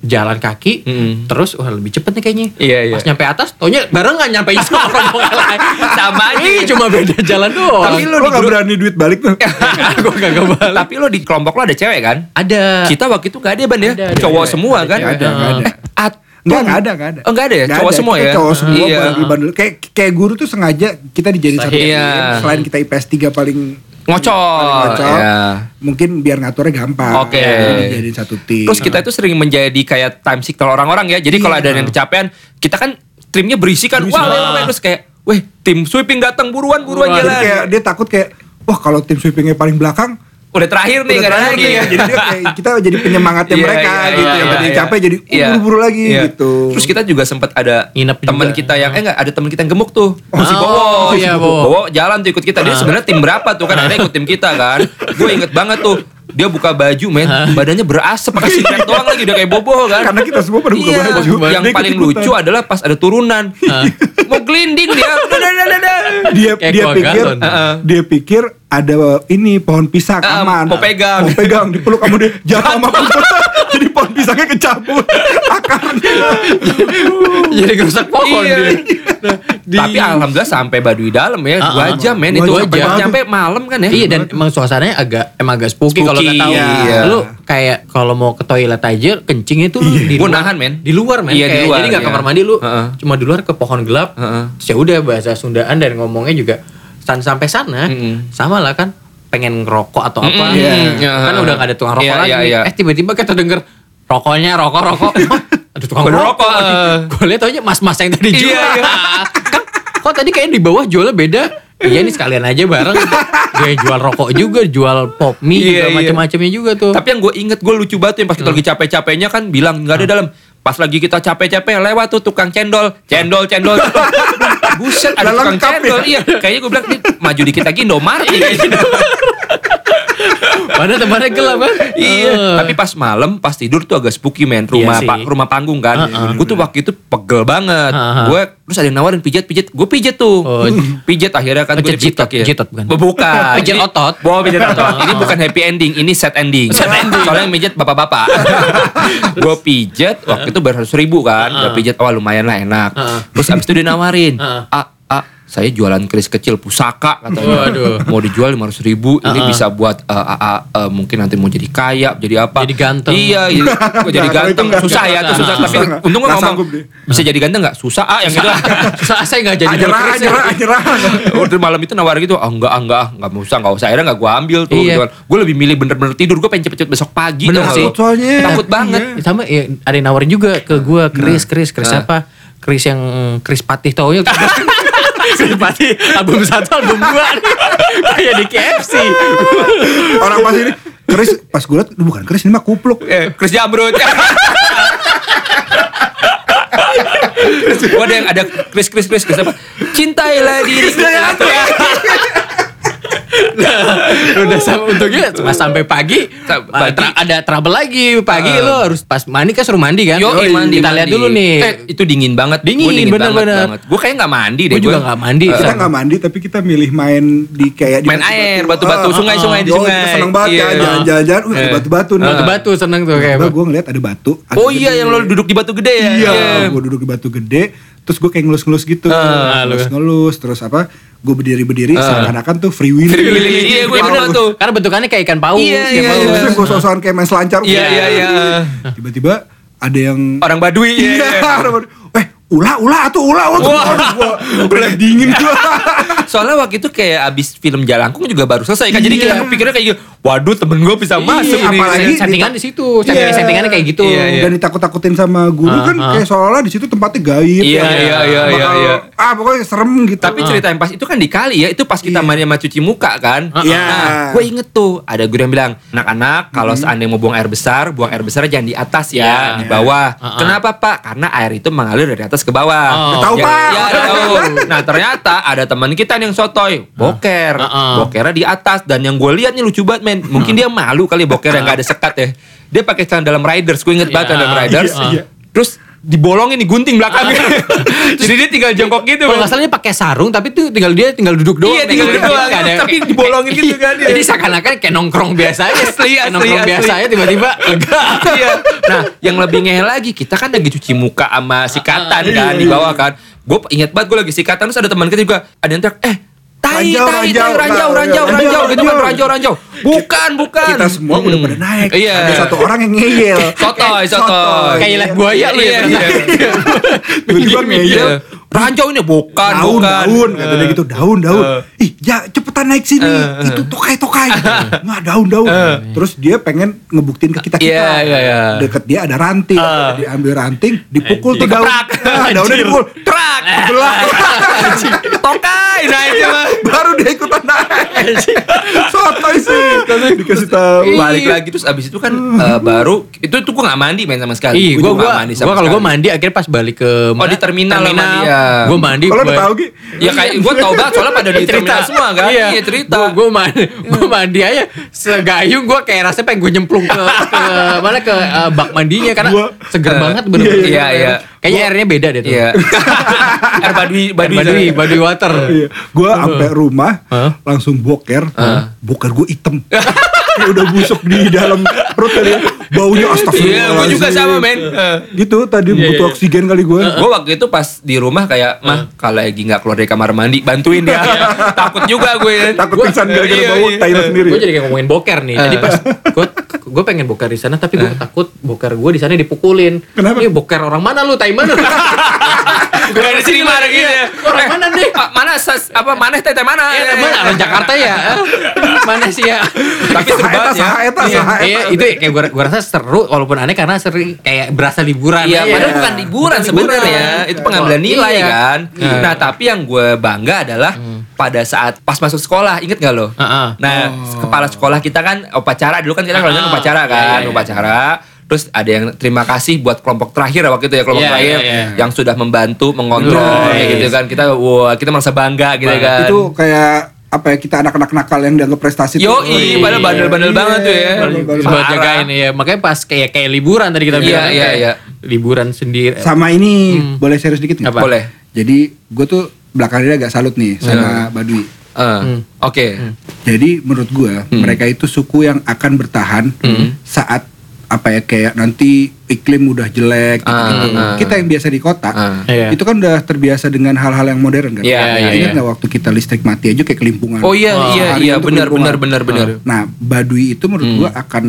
[SPEAKER 1] jalan kaki
[SPEAKER 2] Mm-mm.
[SPEAKER 1] terus wah lebih cepet nih kayaknya
[SPEAKER 2] Iya, iya.
[SPEAKER 1] pas nyampe atas taunya bareng nggak nyampe sama rombongan lain
[SPEAKER 2] Sama aja.
[SPEAKER 1] Iya, cuma beda jalan doang
[SPEAKER 2] Tapi lu
[SPEAKER 3] Lo
[SPEAKER 2] di
[SPEAKER 3] gak
[SPEAKER 2] grup-
[SPEAKER 3] berani duit balik tuh.
[SPEAKER 1] gue kagak balik
[SPEAKER 2] Tapi lo di kelompok lo ada cewek kan?
[SPEAKER 1] ada
[SPEAKER 2] Kita waktu itu gak ada ban ya,
[SPEAKER 1] Ada, ada,
[SPEAKER 2] cowok
[SPEAKER 1] ada.
[SPEAKER 2] semua
[SPEAKER 1] Ada
[SPEAKER 2] kan?
[SPEAKER 1] cewek, ada, ada.
[SPEAKER 2] Eh, at
[SPEAKER 3] Enggak, enggak ada, enggak ada.
[SPEAKER 2] Oh, nggak ada ya?
[SPEAKER 3] Nggak
[SPEAKER 2] Cowok semua
[SPEAKER 3] kita
[SPEAKER 2] ya?
[SPEAKER 3] Cowok semua
[SPEAKER 2] Iya.
[SPEAKER 3] bagi bandel. Kayak kayak guru tuh sengaja kita dijadiin satu
[SPEAKER 2] Iya.
[SPEAKER 3] tim. Selain kita IPS 3 paling
[SPEAKER 2] ngocok.
[SPEAKER 3] paling ngocok,
[SPEAKER 2] Iya.
[SPEAKER 3] Mungkin biar ngaturnya gampang.
[SPEAKER 2] Oke.
[SPEAKER 3] Jadi dijadiin satu tim. Nah,
[SPEAKER 2] Terus kita itu sering menjadi kayak time signal orang-orang ya. Jadi
[SPEAKER 3] Iya,
[SPEAKER 2] kalau ada yang kecapean, kita kan timnya berisi kan. Wah, wah, wah. terus kayak, weh tim sweeping datang buruan buruan
[SPEAKER 1] Wah,
[SPEAKER 3] Jadi
[SPEAKER 2] jalan.
[SPEAKER 3] Ah. kayak dia takut kayak wah kalau tim sweepingnya paling belakang
[SPEAKER 2] Udah terakhir nih,
[SPEAKER 3] udah
[SPEAKER 2] gak ada
[SPEAKER 3] terakhir
[SPEAKER 2] lagi.
[SPEAKER 3] nih. Jadi dia kayak kita jadi penyemangatnya
[SPEAKER 2] Iya,
[SPEAKER 3] mereka
[SPEAKER 2] iya,
[SPEAKER 3] gitu.
[SPEAKER 2] iya,
[SPEAKER 3] yang
[SPEAKER 2] iya,
[SPEAKER 3] tadi
[SPEAKER 2] iya.
[SPEAKER 3] capek jadi uh,
[SPEAKER 2] Iya.
[SPEAKER 3] buru-buru lagi
[SPEAKER 2] Iya.
[SPEAKER 3] gitu.
[SPEAKER 2] Terus kita juga sempat ada
[SPEAKER 1] Nginep
[SPEAKER 2] teman
[SPEAKER 1] juga.
[SPEAKER 2] kita yang eh enggak ada teman kita yang gemuk tuh.
[SPEAKER 1] Oh,
[SPEAKER 2] si
[SPEAKER 1] oh,
[SPEAKER 2] Bowo. si
[SPEAKER 1] iya,
[SPEAKER 2] Bowo.
[SPEAKER 1] Bowo.
[SPEAKER 2] Bowo jalan tuh ikut
[SPEAKER 3] Ah.
[SPEAKER 2] kita. Dia sebenarnya tim berapa tuh kan ada ikut tim kita kan. Gue inget banget tuh. Dia buka baju men, badannya berasap pakai singlet doang lagi udah kayak bobo kan.
[SPEAKER 3] Ah. Karena kita semua pada buka
[SPEAKER 2] Iya,
[SPEAKER 3] baju.
[SPEAKER 2] Yang
[SPEAKER 3] Dia
[SPEAKER 2] paling
[SPEAKER 3] ikut-ikutan.
[SPEAKER 2] lucu adalah pas ada turunan. Mau gelinding dia. Dah, dah, dah, dah, dah.
[SPEAKER 3] dia
[SPEAKER 1] Kayak
[SPEAKER 3] dia
[SPEAKER 1] keluarga
[SPEAKER 3] pikir uh-uh.
[SPEAKER 1] Anton.
[SPEAKER 2] Heeh.
[SPEAKER 3] dia pikir ada uh, ini pohon pisang
[SPEAKER 2] Ah,
[SPEAKER 3] aman
[SPEAKER 2] mau pegang.
[SPEAKER 3] mau pegang dipeluk kamu dia jatuh sama pohon jadi pohon pisangnya kecampur akarnya
[SPEAKER 1] jadi kerusak pohon
[SPEAKER 2] Iya.
[SPEAKER 1] dia Nah, di-
[SPEAKER 2] Tapi alhamdulillah sampai Baduy dalam ya,
[SPEAKER 1] Ah,
[SPEAKER 2] dua
[SPEAKER 1] ah.
[SPEAKER 2] jam men
[SPEAKER 3] Dua
[SPEAKER 2] itu
[SPEAKER 3] jam.
[SPEAKER 2] sampai
[SPEAKER 3] Bagus.
[SPEAKER 2] nyampe malam kan ya.
[SPEAKER 1] Iya dan emang suasananya agak emang agak spooky,
[SPEAKER 2] Spooky,
[SPEAKER 1] kalau nggak tahu.
[SPEAKER 2] iya. Iya.
[SPEAKER 1] Lu kayak kalau mau ke toilet aja kencingnya itu lu di
[SPEAKER 2] Gua
[SPEAKER 1] luar.
[SPEAKER 2] nahan, men.
[SPEAKER 1] Di luar men.
[SPEAKER 2] Iya, di
[SPEAKER 1] Kayak
[SPEAKER 2] luar,
[SPEAKER 1] jadi nggak
[SPEAKER 2] iya.
[SPEAKER 1] kamar mandi lu
[SPEAKER 2] Heeh.
[SPEAKER 1] cuma di luar ke pohon gelap.
[SPEAKER 2] Heeh.
[SPEAKER 1] Terus ya udah bahasa Sundaan dan ngomongnya juga san sampai sana
[SPEAKER 2] Mm-mm.
[SPEAKER 1] sama lah kan pengen ngerokok atau apa.
[SPEAKER 2] Mm-mm, iya.
[SPEAKER 1] Iya. Kan udah nggak ada tukang rokok
[SPEAKER 2] Iya,
[SPEAKER 1] lagi.
[SPEAKER 2] iya, iya.
[SPEAKER 1] Eh tiba-tiba kita denger rokoknya rokok rokok. Aduh tukang
[SPEAKER 2] Ada
[SPEAKER 1] rokok.
[SPEAKER 2] rokok, eh.
[SPEAKER 1] Gue lihat aja mas-mas yang tadi
[SPEAKER 2] Iya,
[SPEAKER 1] jual.
[SPEAKER 2] iya.
[SPEAKER 1] Kan, kok tadi kayaknya di bawah jualnya beda? Iya nih sekalian aja bareng. Gue jual rokok juga, jual pop mie
[SPEAKER 2] Iya,
[SPEAKER 1] juga,
[SPEAKER 2] iya.
[SPEAKER 1] macam-macamnya juga tuh.
[SPEAKER 2] Tapi yang gue inget gue lucu banget tuh yang pas
[SPEAKER 1] Iya.
[SPEAKER 2] kita lagi capek-capeknya kan bilang nggak ada
[SPEAKER 1] Ah.
[SPEAKER 2] dalam. Pas lagi kita capek-capek lewat tuh tukang cendol, cendol, cendol. Buset ada
[SPEAKER 3] Udah
[SPEAKER 2] tukang
[SPEAKER 3] lengkap
[SPEAKER 2] cendol.
[SPEAKER 3] ya?
[SPEAKER 2] Iya, kayaknya gue bilang "Ini maju dikit lagi Indomaret.
[SPEAKER 1] Iya. Padahal tempatnya gelap kan.
[SPEAKER 2] Iya,
[SPEAKER 1] Eh.
[SPEAKER 2] tapi pas malam pas tidur tuh agak spooky men rumah
[SPEAKER 1] Iya sih.
[SPEAKER 2] pa- rumah panggung kan. Gue tuh waktu itu pegel banget.
[SPEAKER 1] Heeh.
[SPEAKER 2] Gue terus ada yang nawarin pijat pijat, gue pijat tuh.
[SPEAKER 1] Oh.
[SPEAKER 2] Pijat akhirnya kan gue
[SPEAKER 1] Pijat
[SPEAKER 2] jitok
[SPEAKER 1] jitot, jitot bukan?
[SPEAKER 2] Bukan.
[SPEAKER 1] Pijat
[SPEAKER 2] Ini-
[SPEAKER 1] otot. Oh.
[SPEAKER 2] Bawa pijat otot. ini bukan happy ending, ini sad ending. Soalnya yang pijat bapak-bapak. gue pijat waktu itu baru seratus ribu kan. Gue pijat awal lumayan lah enak.
[SPEAKER 1] Heeh.
[SPEAKER 2] Terus abis itu dia nawarin.
[SPEAKER 1] Heeh.
[SPEAKER 2] Ah, ah, saya jualan keris kecil pusaka katanya.
[SPEAKER 1] Waduh.
[SPEAKER 2] Mau dijual 500 ribu, ini
[SPEAKER 1] Heeh.
[SPEAKER 2] bisa buat eh, eh, eh, eh, mungkin nanti mau jadi kaya, jadi apa?
[SPEAKER 1] Jadi ganteng.
[SPEAKER 2] Iya, jadi, gua jadi
[SPEAKER 3] Nah, kalau itu
[SPEAKER 2] ganteng.
[SPEAKER 3] nggak-
[SPEAKER 2] Susah ya itu susah.
[SPEAKER 1] Nah,
[SPEAKER 2] Tapi
[SPEAKER 3] susah nggak?
[SPEAKER 2] untung gua
[SPEAKER 3] Nggak
[SPEAKER 2] ngomong
[SPEAKER 3] sanggup dia.
[SPEAKER 2] bisa jadi ganteng nggak? Susah ah yang gitu.
[SPEAKER 1] Ya, Sa- saya nggak jadi ya.
[SPEAKER 3] ajarah
[SPEAKER 1] dokter,
[SPEAKER 2] ya.
[SPEAKER 3] ajarah
[SPEAKER 1] saya-
[SPEAKER 3] ajarah
[SPEAKER 2] Oh, terus malam itu nawar gitu, ah enggak, ah, enggak, ah, enggak mau usah, enggak usah. Akhirnya enggak gue ambil tuh.
[SPEAKER 1] Iya.
[SPEAKER 2] Gitu. Gue lebih milih bener-bener tidur, gue pengen cepet-cepet besok pagi.
[SPEAKER 1] Bener
[SPEAKER 2] tau
[SPEAKER 1] sih.
[SPEAKER 2] nggak lo?
[SPEAKER 3] Soalnya.
[SPEAKER 2] Takut banget.
[SPEAKER 1] Ya, sama ya, ada yang nawarin juga ke gua Kris Kris Kris
[SPEAKER 2] Nah.
[SPEAKER 1] apa Kris yang Kris Patih taunya Kris Patih album satu album dua kayak
[SPEAKER 2] di KFC.
[SPEAKER 3] Orang pas ini Chris pas gue liat "Duh, bukan Chris ini mah kupluk.
[SPEAKER 2] Eh, Chris Jamrut. Gua ada yang ada Chris Chris Chris Chris apa? Cintailah diri
[SPEAKER 1] Nah, udah sam untungnya cuma sampai pagi
[SPEAKER 2] Sa-
[SPEAKER 1] uh,
[SPEAKER 2] pagi.
[SPEAKER 1] tra- ada trouble lagi pagi lo harus pas mandi kan suruh mandi kan
[SPEAKER 2] Yo,
[SPEAKER 1] Yoi,
[SPEAKER 2] mandi,
[SPEAKER 1] kita lihat
[SPEAKER 2] mandi.
[SPEAKER 1] dulu nih
[SPEAKER 2] Eh, itu dingin banget.
[SPEAKER 1] Dingin,
[SPEAKER 2] Gua dingin
[SPEAKER 1] bener,
[SPEAKER 2] banget,
[SPEAKER 1] bener.
[SPEAKER 2] banget. Gue kayaknya nggak mandi deh. Eh,
[SPEAKER 1] Gue juga
[SPEAKER 2] gua.
[SPEAKER 1] nggak mandi.
[SPEAKER 3] Kita
[SPEAKER 1] Sam.
[SPEAKER 3] nggak mandi tapi kita milih main di kayak di
[SPEAKER 2] Iya. Main air, batu-batu,
[SPEAKER 3] Ah,
[SPEAKER 2] sungai-sungai di
[SPEAKER 3] oh,
[SPEAKER 2] sungai.
[SPEAKER 3] Kita seneng banget
[SPEAKER 2] Iya.
[SPEAKER 3] kan, jalan-jalan, wih, ada
[SPEAKER 2] Eh.
[SPEAKER 3] batu-batu nih.
[SPEAKER 1] Batu-batu seneng tuh kayak.
[SPEAKER 3] Tiba-tiba gue ngeliat ada batu.
[SPEAKER 2] Oh iya yang lo duduk di batu gede ya.
[SPEAKER 3] Iya,
[SPEAKER 2] Iya.
[SPEAKER 3] gue duduk di batu gede, terus gue kayak ngelus-ngelus gitu,
[SPEAKER 1] Ah, lu.
[SPEAKER 3] ngelus-ngelus, terus apa? Gue berdiri-berdiri, seakan-akan tuh free wheeling.
[SPEAKER 2] Ah. Free wheeling, iya, gue bener tuh.
[SPEAKER 1] Karena bentukannya kayak ikan paus.
[SPEAKER 2] Iya,
[SPEAKER 1] ikan
[SPEAKER 2] iya,
[SPEAKER 1] paus.
[SPEAKER 2] iya.
[SPEAKER 3] Terus gue sosokan kayak main selancar.
[SPEAKER 2] Iya, iya, iya.
[SPEAKER 3] Tiba-tiba ada yang
[SPEAKER 2] Orang Badui. Iya.
[SPEAKER 3] Iya,
[SPEAKER 2] iya.
[SPEAKER 3] ada batu. eh ulah ulah tuh ulah ulah tuh.
[SPEAKER 2] Wah.
[SPEAKER 3] Aduh, gua udah dingin gua.
[SPEAKER 2] Soalnya waktu itu kayak abis film Jalangkung juga baru selesai kan. Jadi
[SPEAKER 3] Iya.
[SPEAKER 2] kita pikirnya kayak gitu, waduh temen gue bisa masuk
[SPEAKER 3] Iya,
[SPEAKER 2] ini.
[SPEAKER 3] apalagi-
[SPEAKER 1] settingan di situ, settingan
[SPEAKER 3] Iya.
[SPEAKER 1] settingannya kayak gitu.
[SPEAKER 2] Iya, iya.
[SPEAKER 3] Dan ditakut-takutin sama guru
[SPEAKER 1] Ah,
[SPEAKER 3] kan
[SPEAKER 1] ah.
[SPEAKER 3] kayak seolah di situ tempatnya gaib. ya.
[SPEAKER 2] Iya,
[SPEAKER 3] Bakal-
[SPEAKER 2] iya, iya, iya, iya.
[SPEAKER 3] Ah, pokoknya serem gitu.
[SPEAKER 2] Tapi cerita
[SPEAKER 1] Ah.
[SPEAKER 2] yang pas itu kan di kali ya, itu pas kita mandi sama cuci muka kan.
[SPEAKER 3] Iya.
[SPEAKER 2] Nah, gue inget tuh ada guru yang bilang, anak-anak kalau
[SPEAKER 3] Mm-hmm.
[SPEAKER 2] seandainya mau buang air besar, buang air besar jangan di atas
[SPEAKER 1] Iya.
[SPEAKER 2] ya, di bawah. Kenapa pak? Karena air itu mengalir dari atas ke
[SPEAKER 1] Oh.
[SPEAKER 2] bawah.
[SPEAKER 3] Tahu,
[SPEAKER 2] Ya,
[SPEAKER 3] Pak.
[SPEAKER 2] ya, udah tahu. Nah ternyata ada teman kita nih yang
[SPEAKER 1] Ah.
[SPEAKER 2] sotoy, boker,
[SPEAKER 1] Heeh.
[SPEAKER 2] bokernya di atas dan yang gue lihat nih lucu banget men,
[SPEAKER 1] Ah.
[SPEAKER 2] mungkin dia malu kali boker yang gak ada sekat ya. Dia pakai celana dalam riders, gue inget banget celana dalam
[SPEAKER 1] Iya,
[SPEAKER 2] riders.
[SPEAKER 1] iya.
[SPEAKER 2] Terus dibolongin digunting belakangnya. Jadi dia tinggal jongkok gitu.
[SPEAKER 1] Kalau
[SPEAKER 2] men.
[SPEAKER 1] nggak salah dia pakai sarung tapi tuh tinggal dia tinggal duduk doang.
[SPEAKER 2] Iya, tinggal
[SPEAKER 1] Dia
[SPEAKER 3] gitu.
[SPEAKER 2] duduk doang.
[SPEAKER 1] nggak
[SPEAKER 2] Tapi dibolongin gitu kan
[SPEAKER 3] Iya.
[SPEAKER 2] dia.
[SPEAKER 1] Jadi seakan-akan kayak nongkrong biasa aja.
[SPEAKER 2] Asli,
[SPEAKER 1] Kayak
[SPEAKER 2] asli,
[SPEAKER 1] Nongkrong
[SPEAKER 2] asli.
[SPEAKER 1] biasa aja tiba-tiba lega.
[SPEAKER 2] Iya. Nah, yang lebih ngehe lagi, kita kan lagi cuci muka sama
[SPEAKER 3] Ah,
[SPEAKER 2] sikatan kan
[SPEAKER 3] iya.
[SPEAKER 2] di bawah kan. Gue ingat banget gue lagi sikatan terus ada teman kita juga ada yang teriak, "Eh, tai,
[SPEAKER 3] Ranjau,
[SPEAKER 2] tai,
[SPEAKER 3] ranjau,
[SPEAKER 2] tai, ranjau,
[SPEAKER 3] ranjau,
[SPEAKER 2] ranjau, ranjau,
[SPEAKER 3] ranjau,
[SPEAKER 2] gitu kan,
[SPEAKER 3] ranjau.
[SPEAKER 2] ranjau, ranjau." Bukan, bukan.
[SPEAKER 3] kita semua udah pada naik.
[SPEAKER 2] Iya.
[SPEAKER 3] Ada satu orang yang ngeyel. Eh,
[SPEAKER 2] Sotoy, sotoy.
[SPEAKER 1] Kayak lihat buaya lu
[SPEAKER 2] Iya,
[SPEAKER 1] ya.
[SPEAKER 2] iya.
[SPEAKER 3] Tiba-tiba
[SPEAKER 2] Iya.
[SPEAKER 3] ngeyel.
[SPEAKER 2] Ranjau ini bukan,
[SPEAKER 3] daun,
[SPEAKER 2] bukan.
[SPEAKER 3] daun, kata dia gitu, daun, daun.
[SPEAKER 2] Eh.
[SPEAKER 3] Ih, ja, cepetan naik sini.
[SPEAKER 2] Eh, eh.
[SPEAKER 3] Itu tokai, tokai. Nggak daun, daun. Terus dia pengen ngebuktiin ke kita kita.
[SPEAKER 2] Iya, iya, iya.
[SPEAKER 3] Deket dia ada ranting. Diambil ranting, dipukul tuh daun.
[SPEAKER 2] Dikeprak.
[SPEAKER 3] Nah, daunnya
[SPEAKER 2] Anjir.
[SPEAKER 3] dipukul.
[SPEAKER 2] Trak.
[SPEAKER 3] Gelap.
[SPEAKER 2] Tokai naik coba.
[SPEAKER 3] Baru dia ikutan naik. Sotoy sih. Dikasih tahu.
[SPEAKER 1] Iya.
[SPEAKER 2] balik lagi terus abis itu kan eh, baru itu tuh gue nggak mandi main sama
[SPEAKER 1] Ih,
[SPEAKER 2] sekali.
[SPEAKER 1] gua
[SPEAKER 2] Gua juga
[SPEAKER 1] gua
[SPEAKER 2] nggak sama
[SPEAKER 1] gua kalau gua
[SPEAKER 2] sekali. Oh,
[SPEAKER 1] mandi akhirnya pas balik ke mana?
[SPEAKER 2] di terminal lah mandi, ya.
[SPEAKER 1] Gua mandi.
[SPEAKER 3] Kalau udah
[SPEAKER 1] gua-
[SPEAKER 3] tahu Gi.
[SPEAKER 2] Ya kayak gue tau banget soalnya pada di
[SPEAKER 1] Cerita.
[SPEAKER 2] terminal semua kan. Iya, cerita. Hmm.
[SPEAKER 1] Gue gua mandi, gua mandi aja segayung gue kayak rasanya pengen gue nyemplung ke, ke mana ke eh, bak mandinya karena
[SPEAKER 3] Gua-
[SPEAKER 1] seger
[SPEAKER 2] Eh,
[SPEAKER 1] banget bener
[SPEAKER 2] iya, iya, iya.
[SPEAKER 1] Kayaknya airnya beda deh tuh.
[SPEAKER 2] Iya. Air badui badui.
[SPEAKER 1] Badui, badui water.
[SPEAKER 3] Iya. Gua sampai rumah
[SPEAKER 1] Hah?
[SPEAKER 3] langsung boker,
[SPEAKER 1] Hah?
[SPEAKER 3] boker gue item. Kayak udah busuk di dalam perut kali ya. Baunya astagfirullah.
[SPEAKER 2] Iya, gue juga iya. sama men.
[SPEAKER 1] Iya.
[SPEAKER 2] Eh.
[SPEAKER 3] Gitu tadi butuh oksigen kali gue.
[SPEAKER 2] Gue waktu itu pas di rumah
[SPEAKER 1] Eh.
[SPEAKER 2] kayak mah kalau lagi nggak keluar dari kamar mandi bantuin ya.
[SPEAKER 1] Iya.
[SPEAKER 2] Takut juga gue.
[SPEAKER 3] Takut
[SPEAKER 1] Gua-
[SPEAKER 3] pingsan gara-gara
[SPEAKER 2] iya,
[SPEAKER 3] bau
[SPEAKER 2] iya.
[SPEAKER 3] Thailand sendiri.
[SPEAKER 1] Gue jadi kayak ngomongin boker nih. Jadi pas gue gue pengen boker di sana tapi gue takut boker gue di sana dipukulin.
[SPEAKER 3] Kenapa?
[SPEAKER 1] Iya boker orang mana lu? Tai mana? lu?
[SPEAKER 2] Gue dari sini marah gitu. ya.
[SPEAKER 1] Orang
[SPEAKER 2] Eh,
[SPEAKER 1] mana nih?
[SPEAKER 2] ah, Mana sas- apa mana teh teh mana?
[SPEAKER 1] Eh, mana orang Jakarta ya? Eh, Mana sih ya?
[SPEAKER 2] Tapi
[SPEAKER 3] Saha
[SPEAKER 2] seru
[SPEAKER 3] eta,
[SPEAKER 2] banget ya.
[SPEAKER 3] saha eta,
[SPEAKER 1] Iya,
[SPEAKER 3] saha
[SPEAKER 1] iya,
[SPEAKER 3] eta.
[SPEAKER 1] itu ya, kayak gua, gua rasa seru walaupun aneh karena sering kayak berasa liburan.
[SPEAKER 2] Iya,
[SPEAKER 1] aja.
[SPEAKER 2] padahal bukan liburan sebenarnya,
[SPEAKER 1] liburan.
[SPEAKER 2] itu pengambilan
[SPEAKER 1] Iya.
[SPEAKER 2] nilai kan.
[SPEAKER 1] Iya. Hmm.
[SPEAKER 2] Nah, tapi yang gue bangga adalah pada saat pas masuk sekolah, inget gak lo?
[SPEAKER 1] Heeh. Oh.
[SPEAKER 2] Nah, kepala sekolah kita kan upacara dulu kan kita kalau
[SPEAKER 1] Ah,
[SPEAKER 2] upacara
[SPEAKER 1] iya,
[SPEAKER 2] kan,
[SPEAKER 1] iya, iya.
[SPEAKER 2] upacara. Terus ada yang terima kasih buat kelompok terakhir waktu itu ya kelompok
[SPEAKER 1] Iya,
[SPEAKER 2] terakhir
[SPEAKER 1] iya, iya.
[SPEAKER 2] yang sudah membantu mengontrol kayak
[SPEAKER 1] Nice.
[SPEAKER 2] gitu kan. Kita wah, kita merasa bangga gitu
[SPEAKER 1] Bangga.
[SPEAKER 2] kan.
[SPEAKER 3] Itu kayak apa ya kita anak-anak nakal yang dianggap prestasi.
[SPEAKER 2] Yo,
[SPEAKER 3] tuh.
[SPEAKER 1] Yoi,
[SPEAKER 2] pada bandel-bandel
[SPEAKER 3] Iya,
[SPEAKER 2] banget tuh ya.
[SPEAKER 3] bandel-bandel.
[SPEAKER 1] Buat
[SPEAKER 2] Parah.
[SPEAKER 1] jagain ya. Makanya pas kayak kayak liburan tadi kita
[SPEAKER 2] Iya,
[SPEAKER 1] bilang.
[SPEAKER 2] iya,
[SPEAKER 1] kayak
[SPEAKER 2] iya.
[SPEAKER 1] Liburan sendiri.
[SPEAKER 3] Sama ini boleh serius dikit nggak?
[SPEAKER 1] Apa?
[SPEAKER 2] Hmm. Boleh.
[SPEAKER 3] Jadi gue tuh belakangan ini agak salut nih sama Badui.
[SPEAKER 2] Eh,
[SPEAKER 1] hmm.
[SPEAKER 2] Oke.
[SPEAKER 3] Jadi menurut gua
[SPEAKER 2] Hmm.
[SPEAKER 3] mereka itu suku yang akan bertahan saat apa ya kayak nanti iklim udah jelek gitu-gitu.
[SPEAKER 2] Ah, ah.
[SPEAKER 3] Kita yang biasa di kota
[SPEAKER 2] Ah.
[SPEAKER 1] Iya.
[SPEAKER 3] itu kan udah terbiasa dengan hal-hal yang modern kan.
[SPEAKER 2] Iya, iya,
[SPEAKER 3] Ingat
[SPEAKER 1] iya.
[SPEAKER 3] nggak waktu kita listrik mati aja kayak kelimpungan.
[SPEAKER 2] Oh iya
[SPEAKER 1] Wah,
[SPEAKER 2] iya
[SPEAKER 3] hari
[SPEAKER 2] iya
[SPEAKER 3] itu
[SPEAKER 2] benar benar
[SPEAKER 3] kelimpungan.
[SPEAKER 2] benar benar. Hmm.
[SPEAKER 3] Nah, Baduy itu menurut gua akan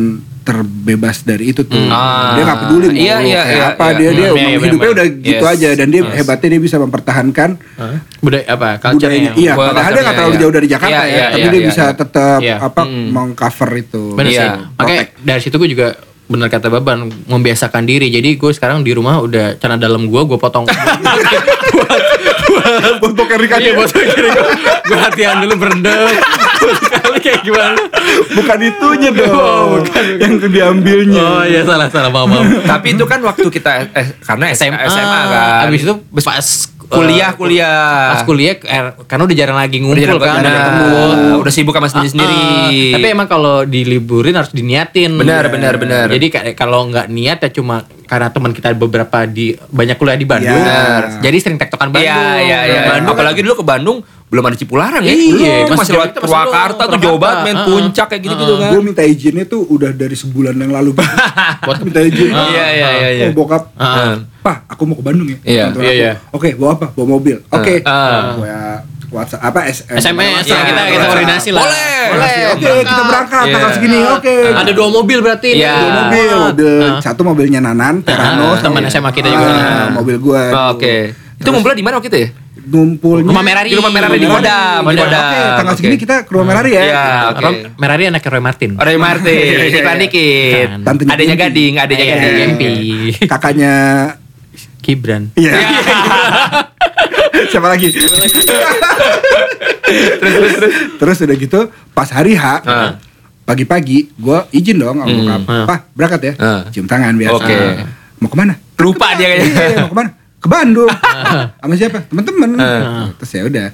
[SPEAKER 3] terbebas dari itu tuh.
[SPEAKER 2] Ah.
[SPEAKER 3] Dia nggak peduli mau
[SPEAKER 2] Iya,
[SPEAKER 3] lu
[SPEAKER 2] iya,
[SPEAKER 3] kayak
[SPEAKER 2] iya,
[SPEAKER 3] apa
[SPEAKER 2] iya.
[SPEAKER 3] dia dia
[SPEAKER 1] Hmm, iya,
[SPEAKER 3] emang
[SPEAKER 1] iya,
[SPEAKER 3] hidupnya
[SPEAKER 1] benar.
[SPEAKER 3] udah gitu
[SPEAKER 2] Yes.
[SPEAKER 3] aja dan dia hebatnya dia bisa mempertahankan
[SPEAKER 1] Hah? Budaya apa?
[SPEAKER 3] budayanya.
[SPEAKER 1] Culture-nya.
[SPEAKER 3] Iya,
[SPEAKER 2] Gua
[SPEAKER 3] padahal dia
[SPEAKER 2] culture-nya,
[SPEAKER 3] nggak terlalu
[SPEAKER 2] iya.
[SPEAKER 3] jauh dari Jakarta
[SPEAKER 2] Iya,
[SPEAKER 3] ya,
[SPEAKER 2] iya,
[SPEAKER 3] tapi
[SPEAKER 2] iya,
[SPEAKER 3] dia
[SPEAKER 2] iya.
[SPEAKER 3] bisa tetap
[SPEAKER 1] Iya.
[SPEAKER 3] apa mengcover itu.
[SPEAKER 1] Bener
[SPEAKER 2] Iya,
[SPEAKER 1] sih. Makanya dari situ gue juga bener kata Baban membiasakan diri. Jadi gue sekarang di rumah udah celana dalam gue gue potong. Kan
[SPEAKER 3] Untuk Erika
[SPEAKER 1] Iya, buat gue kiri gue. Gue latihan dulu berendam. Gue gimana?
[SPEAKER 3] bukan itunya dong yang diambilnya
[SPEAKER 1] Oh iya salah salah maaf maaf.
[SPEAKER 2] Tapi itu kan waktu kita eh, karena SMA, SMA kan.
[SPEAKER 1] Ah, Abis itu pas
[SPEAKER 2] kuliah
[SPEAKER 1] eh,
[SPEAKER 2] kuliah.
[SPEAKER 1] pas kuliah eh, karena udah jarang lagi ngumpul
[SPEAKER 2] udah jarang
[SPEAKER 1] kan
[SPEAKER 2] jarang
[SPEAKER 1] jarang
[SPEAKER 2] ketemu. Udah sibuk sama sendiri sendiri.
[SPEAKER 1] Ah, tapi emang kalau diliburin harus diniatin. Nah,
[SPEAKER 2] Benar, benar, benar.
[SPEAKER 1] Jadi kayak kalau nggak niat ya cuma karena teman kita beberapa di banyak kuliah di Bandung. Nah,
[SPEAKER 3] Iya. Benar.
[SPEAKER 1] Jadi sering tektokan Bandung.
[SPEAKER 2] Iya, iya, iya.
[SPEAKER 1] Bandung kan-
[SPEAKER 2] Apalagi dulu ke Bandung belum ada Cipularang ya.
[SPEAKER 1] Iya,
[SPEAKER 2] Belum, itu
[SPEAKER 1] masih
[SPEAKER 2] masih
[SPEAKER 1] jauh,
[SPEAKER 2] lewat
[SPEAKER 1] kita masih
[SPEAKER 2] Purwakarta
[SPEAKER 1] belum.
[SPEAKER 2] tuh Jawa Barat main
[SPEAKER 1] Heeh.
[SPEAKER 2] puncak kayak gitu-gitu kan.
[SPEAKER 3] gue minta izinnya tuh udah dari sebulan yang lalu
[SPEAKER 1] Buat-
[SPEAKER 3] minta izin
[SPEAKER 1] Ah,
[SPEAKER 2] Iya, iya, iya, iya.
[SPEAKER 3] oh bokap
[SPEAKER 1] Ah.
[SPEAKER 3] Pak, aku mau ke Bandung ya.
[SPEAKER 2] Iya,
[SPEAKER 3] Kantor
[SPEAKER 1] iya,
[SPEAKER 3] aku.
[SPEAKER 1] iya.
[SPEAKER 3] Oke, bawa apa? Bawa mobil. Oke.
[SPEAKER 2] Ah.
[SPEAKER 3] Gua WhatsApp apa SMS.
[SPEAKER 1] SMS
[SPEAKER 2] Iya,
[SPEAKER 1] lah, kita kita
[SPEAKER 2] iya.
[SPEAKER 1] koordinasi lah.
[SPEAKER 2] Boleh.
[SPEAKER 1] Boleh.
[SPEAKER 3] Oke, kita berangkat tanggal
[SPEAKER 2] Iya.
[SPEAKER 3] segini. Oke.
[SPEAKER 1] Ada dua mobil berarti.
[SPEAKER 2] Iya.
[SPEAKER 1] Dua
[SPEAKER 3] Dua mobil, mobil satu mobilnya Nanan,
[SPEAKER 1] Ah,
[SPEAKER 3] Terano,
[SPEAKER 1] teman SMA
[SPEAKER 3] sama-
[SPEAKER 1] kita juga.
[SPEAKER 3] Ah, mobil gua.
[SPEAKER 2] Oh, Oke. Itu ngumpulnya di mana waktu itu ya?
[SPEAKER 3] Ngumpulnya
[SPEAKER 1] Rumah Merari.
[SPEAKER 2] Di rumah Merari di
[SPEAKER 1] Rumah
[SPEAKER 2] Kodam, di
[SPEAKER 1] Kodam.
[SPEAKER 2] Kodam.
[SPEAKER 3] Oke, tanggal
[SPEAKER 2] Oke.
[SPEAKER 3] segini kita ke rumah Merari ya.
[SPEAKER 2] Iya, oke.
[SPEAKER 1] Nah, Rom- Merari anaknya Roy Martin.
[SPEAKER 2] Ray Martin, iklan dikit.
[SPEAKER 1] Kan.
[SPEAKER 3] Tantenya
[SPEAKER 2] iya, Adanya
[SPEAKER 3] Kimpi.
[SPEAKER 2] gading, adanya
[SPEAKER 1] Iya,
[SPEAKER 2] gading.
[SPEAKER 1] Kimpi.
[SPEAKER 3] Kakaknya
[SPEAKER 1] Gibran.
[SPEAKER 3] Iya. Siapa lagi?
[SPEAKER 2] Terus terus terus.
[SPEAKER 3] Terus udah gitu pas hari H
[SPEAKER 2] Ah.
[SPEAKER 3] pagi-pagi gue izin dong sama
[SPEAKER 2] Hmm.
[SPEAKER 3] bokap.
[SPEAKER 1] Ah.
[SPEAKER 3] Pak berangkat ya.
[SPEAKER 2] Ah.
[SPEAKER 3] Cium tangan biasa.
[SPEAKER 2] Oke.
[SPEAKER 3] Mau kemana?
[SPEAKER 2] Lupa dia
[SPEAKER 3] Iya,
[SPEAKER 2] kayaknya.
[SPEAKER 3] iya, mau kemana? Ke Bandung. sama siapa? Temen-temen.
[SPEAKER 2] Ah.
[SPEAKER 3] Terus ya udah.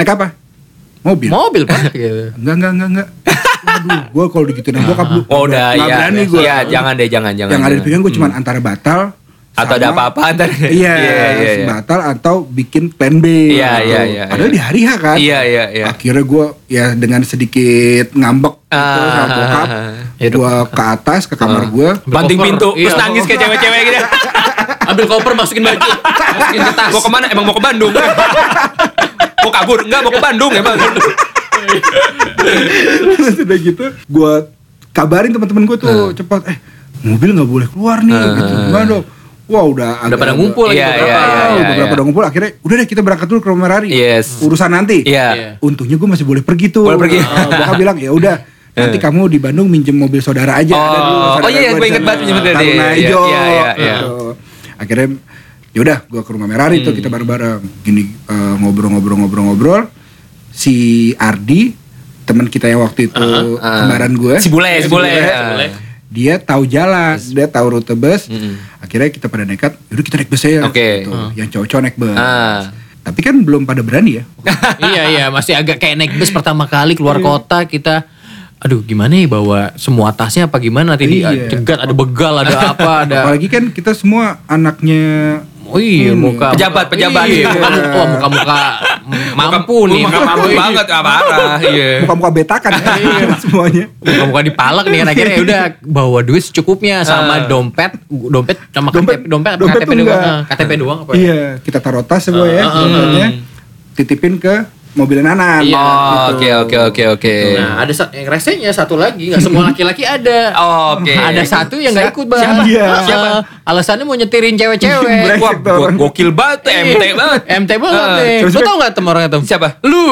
[SPEAKER 3] Naik apa?
[SPEAKER 2] Iya.
[SPEAKER 3] Mobil.
[SPEAKER 1] Mobil pak. gitu.
[SPEAKER 3] enggak enggak enggak enggak. Waduh, gue kalau digituin sama bokap lu.
[SPEAKER 2] Oh udah
[SPEAKER 3] nggak
[SPEAKER 2] iya.
[SPEAKER 3] berani gue.
[SPEAKER 2] Iya, jangan deh, jangan jangan.
[SPEAKER 3] Yang ada di
[SPEAKER 2] jangan.
[SPEAKER 3] pinggang gue cuman antara batal
[SPEAKER 2] atau ada
[SPEAKER 3] sama-
[SPEAKER 2] apa-apa ntar.
[SPEAKER 3] Iya,
[SPEAKER 2] iya, iya.
[SPEAKER 3] batal atau bikin plan B.
[SPEAKER 2] Iya,
[SPEAKER 3] gitu.
[SPEAKER 2] iya, iya,
[SPEAKER 3] Padahal
[SPEAKER 2] iya.
[SPEAKER 3] di hari H kan.
[SPEAKER 2] Iya, iya, iya.
[SPEAKER 3] Akhirnya gue ya dengan sedikit ngambek gitu
[SPEAKER 2] Ah.
[SPEAKER 3] sama bokap.
[SPEAKER 1] Ya, dok.
[SPEAKER 3] Gue ke atas ke kamar gue.
[SPEAKER 2] Banting
[SPEAKER 1] Cover.
[SPEAKER 2] pintu, terus
[SPEAKER 1] Iya.
[SPEAKER 2] nangis kayak cewek-cewek gitu.
[SPEAKER 1] Ambil koper masukin baju. Masukin ke tas.
[SPEAKER 2] Mau kemana? Emang mau ke Bandung? mau kabur? Enggak, mau ke Bandung emang.
[SPEAKER 3] Terus udah gitu gue kabarin teman-teman gue tuh
[SPEAKER 2] Nah.
[SPEAKER 3] cepat. Eh mobil nggak boleh keluar nih.
[SPEAKER 2] Ah.
[SPEAKER 3] Gitu. Gimana dong? Wah udah
[SPEAKER 1] Udah pada ngumpul lagi
[SPEAKER 2] Iya,
[SPEAKER 1] beberapa.
[SPEAKER 2] iya, iya.
[SPEAKER 3] Ah, beberapa udah ngumpul akhirnya udah deh kita berangkat dulu ke rumah Rari
[SPEAKER 2] Yes.
[SPEAKER 3] urusan nanti
[SPEAKER 1] Iya.
[SPEAKER 2] Iya.
[SPEAKER 3] untungnya gue masih boleh pergi tuh
[SPEAKER 2] Boleh pergi. Oh, Eh.
[SPEAKER 3] Ah, bokap bilang ya udah nanti kamu di Bandung minjem mobil saudara aja
[SPEAKER 2] Oh.
[SPEAKER 3] dulu saudara
[SPEAKER 2] Oh, iya, iya,
[SPEAKER 3] gua
[SPEAKER 2] gua
[SPEAKER 3] di
[SPEAKER 2] inget
[SPEAKER 3] sana.
[SPEAKER 2] banget minjem mobil
[SPEAKER 3] Taruna
[SPEAKER 2] dia. Iya,
[SPEAKER 3] Ijo,
[SPEAKER 2] iya, iya, iya.
[SPEAKER 3] gitu. akhirnya ya udah gue ke rumah Merari tuh
[SPEAKER 2] Hmm.
[SPEAKER 3] kita bareng-bareng gini eh, ngobrol-ngobrol-ngobrol-ngobrol si Ardi teman kita yang waktu itu
[SPEAKER 2] ah.
[SPEAKER 3] kembaran gue
[SPEAKER 2] Si Bule, si Bule,
[SPEAKER 3] Bule.
[SPEAKER 2] ah. Bule.
[SPEAKER 3] dia tahu jalan dia tahu rute bus
[SPEAKER 2] Mm-mm.
[SPEAKER 3] akhirnya kita pada nekat yaudah kita naik bus aja
[SPEAKER 2] Hmm. Oke.
[SPEAKER 3] gitu. yang cowok-cowok naik bus
[SPEAKER 2] Ah.
[SPEAKER 3] tapi kan belum pada berani ya
[SPEAKER 1] iya iya masih agak kayak naik bus pertama kali
[SPEAKER 2] Iya.
[SPEAKER 1] keluar kota kita aduh gimana ya bawa semua tasnya apa gimana nanti
[SPEAKER 3] Iya.
[SPEAKER 1] dicegat ada begal ada apa ada
[SPEAKER 2] Ya.
[SPEAKER 3] Apalagi kan kita semua anaknya
[SPEAKER 1] oh iya
[SPEAKER 3] Hmm.
[SPEAKER 1] muka
[SPEAKER 2] Pejabat, pejabat.
[SPEAKER 1] iya, muka, muka, muka muka mampu nih
[SPEAKER 2] Muka mampu banget apa arah. Iya.
[SPEAKER 3] muka-muka betakan ya semuanya.
[SPEAKER 1] muka muka dipalak nih kan akhirnya ya udah bawa duit secukupnya sama dompet dompet sama
[SPEAKER 3] Dompet-
[SPEAKER 1] KTP dompet apa
[SPEAKER 3] dompet
[SPEAKER 1] KTP
[SPEAKER 3] tuh
[SPEAKER 1] doang
[SPEAKER 3] enggak.
[SPEAKER 1] Eh, KTP doang apa ya?
[SPEAKER 3] Iya, kita taruh tas semua ya, semuanya. Titipin ke mobil Nanan.
[SPEAKER 1] Iya.
[SPEAKER 2] Oh,
[SPEAKER 3] Gitu.
[SPEAKER 2] Oke, oke, oke, oke.
[SPEAKER 1] Nah, ada sa- yang resenya satu lagi, nggak semua laki-laki ada.
[SPEAKER 2] Oh, Oke.
[SPEAKER 1] Ada satu yang nggak ikut bang.
[SPEAKER 3] Siapa? Iya.
[SPEAKER 1] Eh,
[SPEAKER 2] Siapa?
[SPEAKER 1] alasannya mau nyetirin cewek-cewek.
[SPEAKER 2] Wah,
[SPEAKER 3] Brengsek tuh orang.
[SPEAKER 2] gokil banget, MT Iya. banget.
[SPEAKER 1] MT banget
[SPEAKER 2] Ah,
[SPEAKER 1] nih.
[SPEAKER 3] terus
[SPEAKER 1] Lu
[SPEAKER 3] dia-
[SPEAKER 1] tau gak temen orangnya tem?
[SPEAKER 2] Siapa?
[SPEAKER 1] Lu.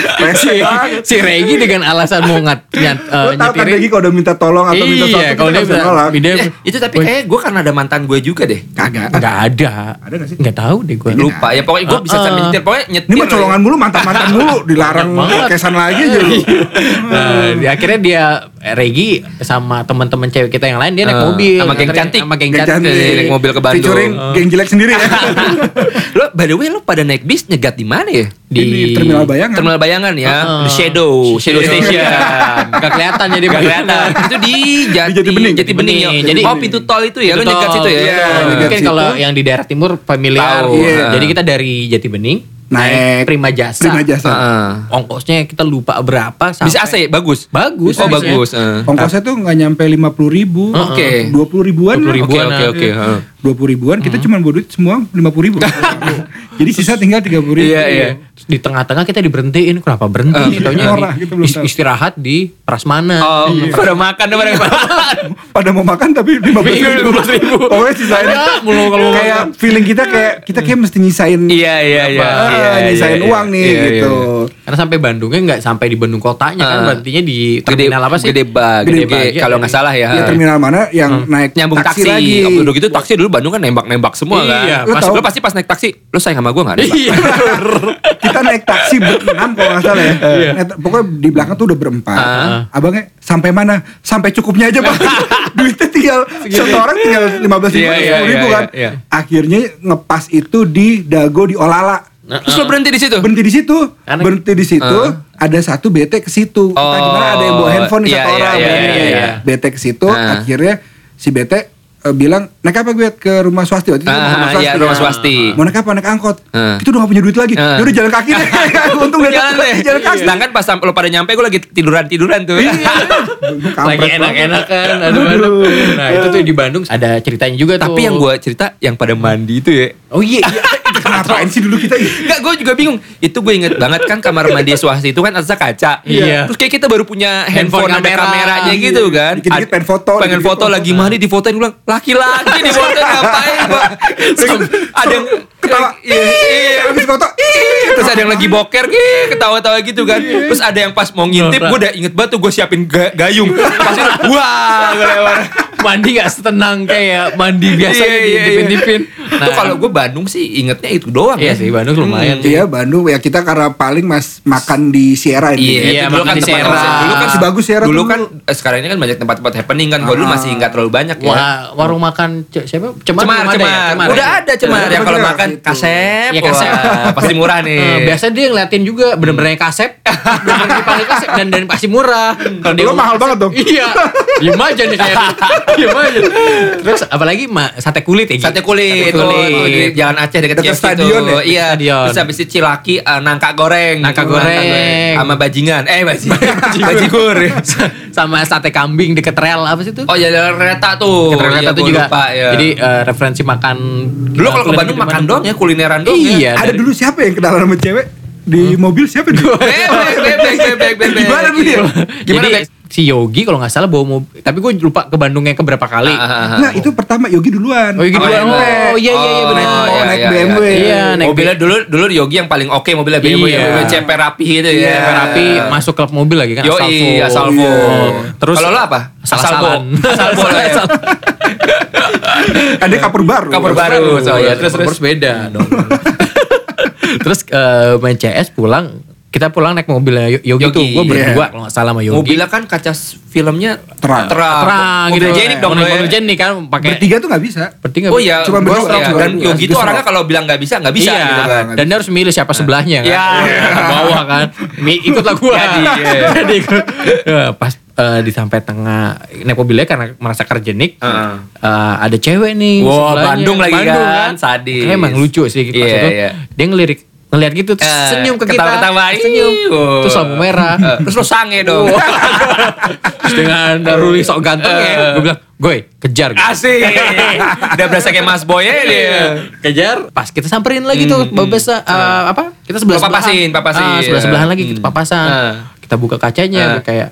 [SPEAKER 3] Rese
[SPEAKER 1] si,
[SPEAKER 3] banget.
[SPEAKER 1] si Regi dengan alasan mau ngat, nyat, eh,
[SPEAKER 3] Lo tau kan
[SPEAKER 1] nyetirin.
[SPEAKER 3] lagi kalau udah minta tolong atau minta
[SPEAKER 1] iya,
[SPEAKER 3] sesuatu
[SPEAKER 1] kalau
[SPEAKER 3] kita
[SPEAKER 1] dia
[SPEAKER 3] bisa nolak.
[SPEAKER 1] bilang, dia,
[SPEAKER 2] Eh, itu tapi kayaknya gue karena ada mantan gue juga deh.
[SPEAKER 3] Kagak.
[SPEAKER 1] nggak ada.
[SPEAKER 3] Ada nggak sih?
[SPEAKER 1] Nggak tahu deh gue.
[SPEAKER 2] Lupa ya pokoknya gue bisa
[SPEAKER 1] Ah,
[SPEAKER 2] sambil
[SPEAKER 1] ah.
[SPEAKER 2] nyetir pokoknya nyetir.
[SPEAKER 3] Ini mah colongan mulu, mantan-mantan mulu, dilarang
[SPEAKER 1] Banyak banget.
[SPEAKER 3] kesan lagi gitu. aja lu.
[SPEAKER 1] Nah, di- akhirnya dia eh, Regi sama teman-teman cewek kita yang lain dia naik
[SPEAKER 2] Ah,
[SPEAKER 1] mobil
[SPEAKER 2] sama geng
[SPEAKER 1] Nganterin-
[SPEAKER 2] cantik.
[SPEAKER 1] sama geng
[SPEAKER 3] Geng
[SPEAKER 1] cantik.
[SPEAKER 2] cantik. Naik mobil ke Bandung.
[SPEAKER 3] Featuring geng jelek sendiri ya.
[SPEAKER 2] Lo by the way lo pada naik bis nyegat di mana ya?
[SPEAKER 3] Di, terminal bayangan.
[SPEAKER 2] Terminal bayangan ya,
[SPEAKER 1] Ah.
[SPEAKER 2] The Shadow, Shadow
[SPEAKER 1] Shadow.
[SPEAKER 2] Station.
[SPEAKER 1] Nggak kelihatan ya jadi
[SPEAKER 2] Gak kelihatan. Itu di Jati,
[SPEAKER 3] Jati Bening.
[SPEAKER 2] Jati Bening ya.
[SPEAKER 1] Bening. Jadi-
[SPEAKER 2] oh pintu tol itu ya, lo
[SPEAKER 1] Betul.
[SPEAKER 2] nyegat situ ya.
[SPEAKER 1] Iya,
[SPEAKER 3] nyegat
[SPEAKER 1] Mungkin
[SPEAKER 3] situ.
[SPEAKER 1] kalau yang di daerah timur familiar.
[SPEAKER 2] Tahu.
[SPEAKER 1] Iya.
[SPEAKER 3] Iya.
[SPEAKER 1] Jadi kita dari Jati Bening
[SPEAKER 3] Naik
[SPEAKER 1] Prima Jasa.
[SPEAKER 3] Prima Jasa.
[SPEAKER 2] Heeh.
[SPEAKER 1] Ongkosnya kita lupa berapa sampai
[SPEAKER 2] Bisa AC bagus.
[SPEAKER 1] Bagus.
[SPEAKER 2] Oh
[SPEAKER 1] harusnya.
[SPEAKER 2] bagus. eh.
[SPEAKER 3] ya. Ongkosnya tuh nggak nyampe lima puluh ribu,
[SPEAKER 2] Oke.
[SPEAKER 3] dua puluh ribuan,
[SPEAKER 1] 20
[SPEAKER 3] lah.
[SPEAKER 2] Oke
[SPEAKER 1] ribuan,
[SPEAKER 2] oke
[SPEAKER 1] ah.
[SPEAKER 2] oke. heeh.
[SPEAKER 3] dua puluh ribuan kita
[SPEAKER 2] Hmm.
[SPEAKER 3] cuma bawa duit semua lima puluh ribu jadi sisa tinggal tiga puluh ribu
[SPEAKER 2] Iya iya.
[SPEAKER 1] Terus Di tengah-tengah kita diberhentiin. Kenapa berhenti? nih? Taunya
[SPEAKER 3] Orang,
[SPEAKER 1] di-
[SPEAKER 3] kita belum
[SPEAKER 1] is-
[SPEAKER 3] tahu. Iya.
[SPEAKER 1] istirahat di Prasmanan.
[SPEAKER 2] Eh, Oh, pada makan pada makan.
[SPEAKER 3] pada mau makan tapi lima belas ribu,
[SPEAKER 2] Iya, ribu.
[SPEAKER 3] pokoknya sisain
[SPEAKER 1] Ada, mulu kalau-
[SPEAKER 3] kayak feeling kita kayak kita kayak mesti nyisain
[SPEAKER 2] Iya iya iya.
[SPEAKER 1] Apa?
[SPEAKER 2] iya, iya, iya,
[SPEAKER 3] nyisain
[SPEAKER 2] iya.
[SPEAKER 3] uang nih
[SPEAKER 2] Iya, iya,
[SPEAKER 3] gitu.
[SPEAKER 1] Karena sampai Bandungnya nggak sampai di Bandung kotanya kan
[SPEAKER 2] Ah.
[SPEAKER 1] berartinya di
[SPEAKER 2] Gede,
[SPEAKER 1] terminal apa sih?
[SPEAKER 2] Gede bag,
[SPEAKER 1] Gede
[SPEAKER 2] gede,
[SPEAKER 1] Bag, ya,
[SPEAKER 2] kalau
[SPEAKER 1] tadi.
[SPEAKER 2] nggak salah ya.
[SPEAKER 3] Ya terminal mana yang naik
[SPEAKER 2] Hmm. nyambung taksi,
[SPEAKER 3] lagi.
[SPEAKER 2] Udah gitu taksi dulu Bandung kan nembak-nembak semua
[SPEAKER 1] Iya,
[SPEAKER 2] kan.
[SPEAKER 3] lu
[SPEAKER 2] Pas,
[SPEAKER 3] tahu.
[SPEAKER 2] lu pasti pas naik taksi, lu sayang sama gue gak?
[SPEAKER 1] Iya.
[SPEAKER 3] Kita naik taksi berenam kalau nggak salah ya. Naik- pokoknya di belakang tuh udah berempat.
[SPEAKER 2] Iya. Ah.
[SPEAKER 3] Abangnya sampai mana? Sampai cukupnya aja pak. Duitnya tinggal satu orang tinggal lima belas ribu,
[SPEAKER 2] Iya, iya,
[SPEAKER 3] ribu
[SPEAKER 2] iya,
[SPEAKER 3] kan.
[SPEAKER 2] iya.
[SPEAKER 3] Akhirnya ngepas itu di dago di olala.
[SPEAKER 2] Terus lu berhenti di situ.
[SPEAKER 3] Berhenti di situ,
[SPEAKER 1] Karena-
[SPEAKER 3] berhenti di situ.
[SPEAKER 2] Ah.
[SPEAKER 3] Ada satu bete ke situ. Entah
[SPEAKER 2] Oh,
[SPEAKER 3] gimana ada yang bawa handphone di
[SPEAKER 2] iya,
[SPEAKER 3] satu
[SPEAKER 2] iya,
[SPEAKER 3] orang.
[SPEAKER 2] iya,
[SPEAKER 3] berani.
[SPEAKER 1] iya, iya.
[SPEAKER 3] Bete ke situ.
[SPEAKER 2] Ah.
[SPEAKER 3] Akhirnya si bete eh, bilang naik apa gue ke rumah swasti waktu itu
[SPEAKER 2] Ah, iya, rumah swasti.
[SPEAKER 3] mau naik apa naik angkot
[SPEAKER 2] Ah.
[SPEAKER 3] itu udah gak punya duit lagi
[SPEAKER 2] Ah.
[SPEAKER 3] Yaudah jalan kaki deh untung gak
[SPEAKER 2] jalan deh. Iya.
[SPEAKER 3] jalan kaki Iya.
[SPEAKER 2] Sedangkan pas sam- lu pada nyampe gue lagi tiduran-tiduran tuh.
[SPEAKER 3] Nah, Gua kampret
[SPEAKER 1] Lagi
[SPEAKER 3] banget.
[SPEAKER 1] enak-enak kan. Aduh, aduh. Nah itu tuh di Bandung ada ceritanya juga tuh.
[SPEAKER 2] Tapi yang gue cerita yang pada mandi itu ya.
[SPEAKER 1] Oh iya. iya.
[SPEAKER 3] ngapain sih dulu kita
[SPEAKER 2] Enggak, gue juga bingung. Itu gue inget banget kan kamar mandi swasti itu kan atasnya kaca.
[SPEAKER 1] Iya.
[SPEAKER 2] Terus kayak kita baru punya
[SPEAKER 1] Handphone
[SPEAKER 2] handphone, ada
[SPEAKER 1] kamera. Iya.
[SPEAKER 2] kameranya gitu kan.
[SPEAKER 3] Dikit-dikit
[SPEAKER 2] Ad-
[SPEAKER 3] pengen foto,
[SPEAKER 2] Pengen
[SPEAKER 3] dikit-dikit
[SPEAKER 2] foto
[SPEAKER 3] foto.
[SPEAKER 2] lagi mandi difotoin gue bilang laki-laki di foto ngapain pak? Terus ada yang
[SPEAKER 3] ketawa.
[SPEAKER 2] Iya, iya.
[SPEAKER 3] habis foto ih,
[SPEAKER 2] Terus ada yang lagi boker, ih, ketawa-tawa gitu kan. Terus ada yang pas mau ngintip, gue udah inget banget tuh gue siapin ga- gayung. Pas itu, wah, gue lewat.
[SPEAKER 1] mandi nggak setenang kayak mandi biasa
[SPEAKER 2] Iya,
[SPEAKER 1] di
[SPEAKER 2] iya,
[SPEAKER 1] dipin-dipin. Nah,
[SPEAKER 2] iya. Tuh kalau gue Bandung sih ingetnya itu doang kan. Hmm.
[SPEAKER 1] Iya sih Bandung lumayan.
[SPEAKER 3] Iya Bandung ya kita karena paling mas makan di
[SPEAKER 2] Iya,
[SPEAKER 3] Sierra ini.
[SPEAKER 1] Iya,
[SPEAKER 2] dulu
[SPEAKER 1] makan
[SPEAKER 2] kan
[SPEAKER 1] di
[SPEAKER 2] tempat
[SPEAKER 1] Serang.
[SPEAKER 2] dulu kan
[SPEAKER 3] Masih bagus Serang
[SPEAKER 2] Dulu
[SPEAKER 3] dulu.
[SPEAKER 2] kan eh, sekarang ini kan banyak tempat-tempat happening kan. Kalau dulu masih nggak terlalu banyak ya.
[SPEAKER 1] Wah, warung makan ce- siapa? Cemar,
[SPEAKER 2] Cemar,
[SPEAKER 1] belum ada ya?
[SPEAKER 2] cemar. Udah ada cemar.
[SPEAKER 3] Cemar
[SPEAKER 2] Yang kalau
[SPEAKER 3] ada.
[SPEAKER 2] makan
[SPEAKER 3] Gitu.
[SPEAKER 2] kasep,
[SPEAKER 1] Iya, kasep.
[SPEAKER 2] wah, pasti murah Ah, nih.
[SPEAKER 1] Eh, biasa dia ngeliatin juga bener-bener yang kasep bener-bener dipanggil kasep dan dan pasti murah kalau dia
[SPEAKER 3] Lo
[SPEAKER 1] ngomong
[SPEAKER 3] mahal
[SPEAKER 1] kasep,
[SPEAKER 3] banget dong.
[SPEAKER 1] iya diem aja nih saya diem aja terus apalagi ma- sate kulit ya Gi?
[SPEAKER 2] Sate kulit,
[SPEAKER 1] Sate kulit.
[SPEAKER 2] Oh, di Jalan Aceh dekat
[SPEAKER 3] Dekat
[SPEAKER 2] CFC
[SPEAKER 3] stadion ya?
[SPEAKER 2] tuh. Iya.
[SPEAKER 1] Stadion.
[SPEAKER 2] Terus habis itu cilaki eh, nangka goreng.
[SPEAKER 1] Nangka goreng.
[SPEAKER 2] sama bajingan. Eh, bajingan. Bajigur.
[SPEAKER 1] sama sate kambing deket rel apa sih itu
[SPEAKER 2] Oh, ya jalan kereta tuh.
[SPEAKER 1] Deket rel
[SPEAKER 2] Iya,
[SPEAKER 1] itu
[SPEAKER 2] gua
[SPEAKER 1] juga
[SPEAKER 2] lupa, ya.
[SPEAKER 1] jadi eh, referensi makan eh,
[SPEAKER 2] dulu kalau ke
[SPEAKER 1] kulit
[SPEAKER 2] Bandung
[SPEAKER 1] di
[SPEAKER 2] makan
[SPEAKER 1] Bandung.
[SPEAKER 2] doang ya, kulineran doang. ya.
[SPEAKER 1] iya
[SPEAKER 3] Ada
[SPEAKER 1] dari-
[SPEAKER 3] dulu siapa yang kenalan sama cewek di mobil siapa dulu?
[SPEAKER 2] Ah, Bebek, bebek, bebek, bebek. Iya.
[SPEAKER 3] Gimana Bu, dia?
[SPEAKER 2] ya. Gimana,
[SPEAKER 1] jadi
[SPEAKER 2] Bek?
[SPEAKER 1] si Yogi kalau nggak salah bawa mobil tapi gue lupa ke Bandungnya ke berapa kali
[SPEAKER 2] Ah, ah, ah.
[SPEAKER 3] Nah itu pertama Yogi duluan.
[SPEAKER 1] Oh, Yogi
[SPEAKER 3] Sama
[SPEAKER 1] duluan.
[SPEAKER 3] Emre.
[SPEAKER 1] Oh, iya, iya, iya, benar.
[SPEAKER 3] Naik-
[SPEAKER 1] Oh,
[SPEAKER 3] mau
[SPEAKER 1] iya,
[SPEAKER 3] naik
[SPEAKER 2] iya,
[SPEAKER 3] BMW.
[SPEAKER 1] Iya, naik
[SPEAKER 2] mobilnya dulu dulu Yogi yang paling oke mobilnya BMW
[SPEAKER 1] Iya.
[SPEAKER 2] ya, CP rapi gitu
[SPEAKER 1] Iya,
[SPEAKER 2] ya.
[SPEAKER 1] rapi masuk klub mobil lagi kan Asalvo.
[SPEAKER 2] Yoi, asalvo.
[SPEAKER 1] Iya. Terus
[SPEAKER 2] kalau lo apa?
[SPEAKER 1] Asal-asalan.
[SPEAKER 2] Asalvo lah ya.
[SPEAKER 3] Ada kapur baru.
[SPEAKER 2] Kapur
[SPEAKER 1] Oh
[SPEAKER 2] baru, soalnya.
[SPEAKER 1] ya, terus terus beda dong. terus eh, main CS pulang, kita pulang naik mobilnya Yo- Yogi,
[SPEAKER 2] Yogi,
[SPEAKER 1] tuh, gue
[SPEAKER 2] iya.
[SPEAKER 1] berdua kalau nggak salah sama Yogi.
[SPEAKER 2] Mobilnya kan kaca s- filmnya
[SPEAKER 3] Terang.
[SPEAKER 2] Terang,
[SPEAKER 1] terang gitu.
[SPEAKER 2] Mobil jenik dong.
[SPEAKER 1] Mobil,
[SPEAKER 2] lo ya.
[SPEAKER 1] mobil jenik kan pakai.
[SPEAKER 3] Bertiga tuh nggak bisa.
[SPEAKER 1] Bertiga.
[SPEAKER 2] Oh iya,
[SPEAKER 3] Cuma
[SPEAKER 2] cuma
[SPEAKER 3] berdua,
[SPEAKER 2] ya.
[SPEAKER 3] cuma
[SPEAKER 2] Dan
[SPEAKER 3] berdua.
[SPEAKER 2] Yogi itu
[SPEAKER 3] Justru.
[SPEAKER 2] orangnya kalau bilang nggak bisa, nggak bisa
[SPEAKER 1] iya,
[SPEAKER 2] gitu kan.
[SPEAKER 1] dan dia harus milih siapa sebelahnya kan.
[SPEAKER 2] Iya.
[SPEAKER 1] Ke bawah kan. Mi- ikutlah gua.
[SPEAKER 2] Jadi, iya.
[SPEAKER 1] Jadi ikut. Ya, pas eh, di sampai tengah naik mobilnya karena merasa kerjenik.
[SPEAKER 2] Heeh.
[SPEAKER 1] eh, ada cewek nih
[SPEAKER 2] Wah,
[SPEAKER 1] sebelahnya.
[SPEAKER 2] Bandung lagi
[SPEAKER 1] Bandung
[SPEAKER 2] kan, sadis.
[SPEAKER 1] Makanya emang lucu sih gitu pas
[SPEAKER 2] Iya,
[SPEAKER 1] itu.
[SPEAKER 2] iya.
[SPEAKER 1] Dia ngelirik ngeliat gitu terus
[SPEAKER 2] Eh,
[SPEAKER 1] senyum ke kita.
[SPEAKER 2] ketawa-ketawa,
[SPEAKER 1] Senyum.
[SPEAKER 2] "Ih, oh."
[SPEAKER 1] Terus lampu merah.
[SPEAKER 2] Eh, Terus lo sange dong.
[SPEAKER 1] Terus dengan Ruli sok ganteng ya.
[SPEAKER 2] Eh.
[SPEAKER 1] Gue bilang, "Goy, kejar." gitu." Goy."
[SPEAKER 2] Asik. Udah berasa kayak Mas Boy ya dia.
[SPEAKER 1] kejar pas kita samperin lagi tuh
[SPEAKER 2] Hmm,
[SPEAKER 1] babesa eh, apa kita sebelah
[SPEAKER 2] Papasin, Ah. papasin.
[SPEAKER 1] sebelah sebelahan
[SPEAKER 2] Eh.
[SPEAKER 1] lagi kita
[SPEAKER 2] Hmm.
[SPEAKER 1] papasan
[SPEAKER 2] Eh.
[SPEAKER 1] kita buka kacanya
[SPEAKER 2] Eh.
[SPEAKER 1] kayak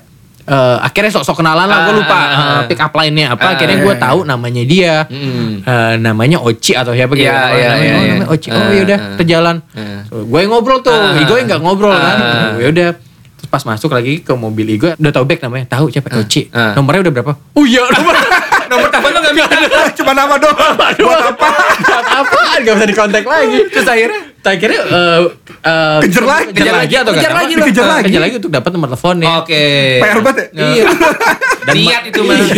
[SPEAKER 1] eh, akhirnya sok-sok kenalan lah gue
[SPEAKER 2] Ah,
[SPEAKER 1] lupa
[SPEAKER 2] ah,
[SPEAKER 1] eh,
[SPEAKER 2] ah.
[SPEAKER 1] pick up line-nya apa
[SPEAKER 2] Ah,
[SPEAKER 1] akhirnya
[SPEAKER 2] iya,
[SPEAKER 1] gue
[SPEAKER 2] iya.
[SPEAKER 1] tahu namanya dia
[SPEAKER 2] Mm.
[SPEAKER 1] Eh, namanya Oci atau siapa gitu
[SPEAKER 2] Iya,
[SPEAKER 1] Oh,
[SPEAKER 2] iya,
[SPEAKER 1] namanya,
[SPEAKER 2] iya,
[SPEAKER 1] oh,
[SPEAKER 2] iya.
[SPEAKER 1] namanya Oci oh
[SPEAKER 2] Ah,
[SPEAKER 1] yaudah
[SPEAKER 2] ah.
[SPEAKER 1] kita jalan
[SPEAKER 2] Ah.
[SPEAKER 1] gue ngobrol tuh
[SPEAKER 2] Ah.
[SPEAKER 1] Igo nggak ngobrol kan
[SPEAKER 2] Ah.
[SPEAKER 1] ya udah terus pas masuk lagi ke mobil Igo udah tau back namanya tahu siapa Oci
[SPEAKER 2] ah.
[SPEAKER 1] nomornya udah berapa oh iya nomor
[SPEAKER 2] Nomor telepon lo nggak bisa.
[SPEAKER 3] Cuma nama doang. Buat apa?
[SPEAKER 1] buat apaan gak bisa dikontak lagi terus akhirnya akhirnya eh, eh,
[SPEAKER 3] Kejar lagi.
[SPEAKER 1] kejar lagi atau nggak
[SPEAKER 2] Kejar lagi
[SPEAKER 1] dapat? kejar lagi
[SPEAKER 2] lah.
[SPEAKER 3] Kejar lagi.
[SPEAKER 1] kejar lagi untuk dapat nomor teleponnya
[SPEAKER 2] Oke.
[SPEAKER 3] PR banget ya?
[SPEAKER 1] iya
[SPEAKER 2] Dan Niat itu mah.
[SPEAKER 1] Iya.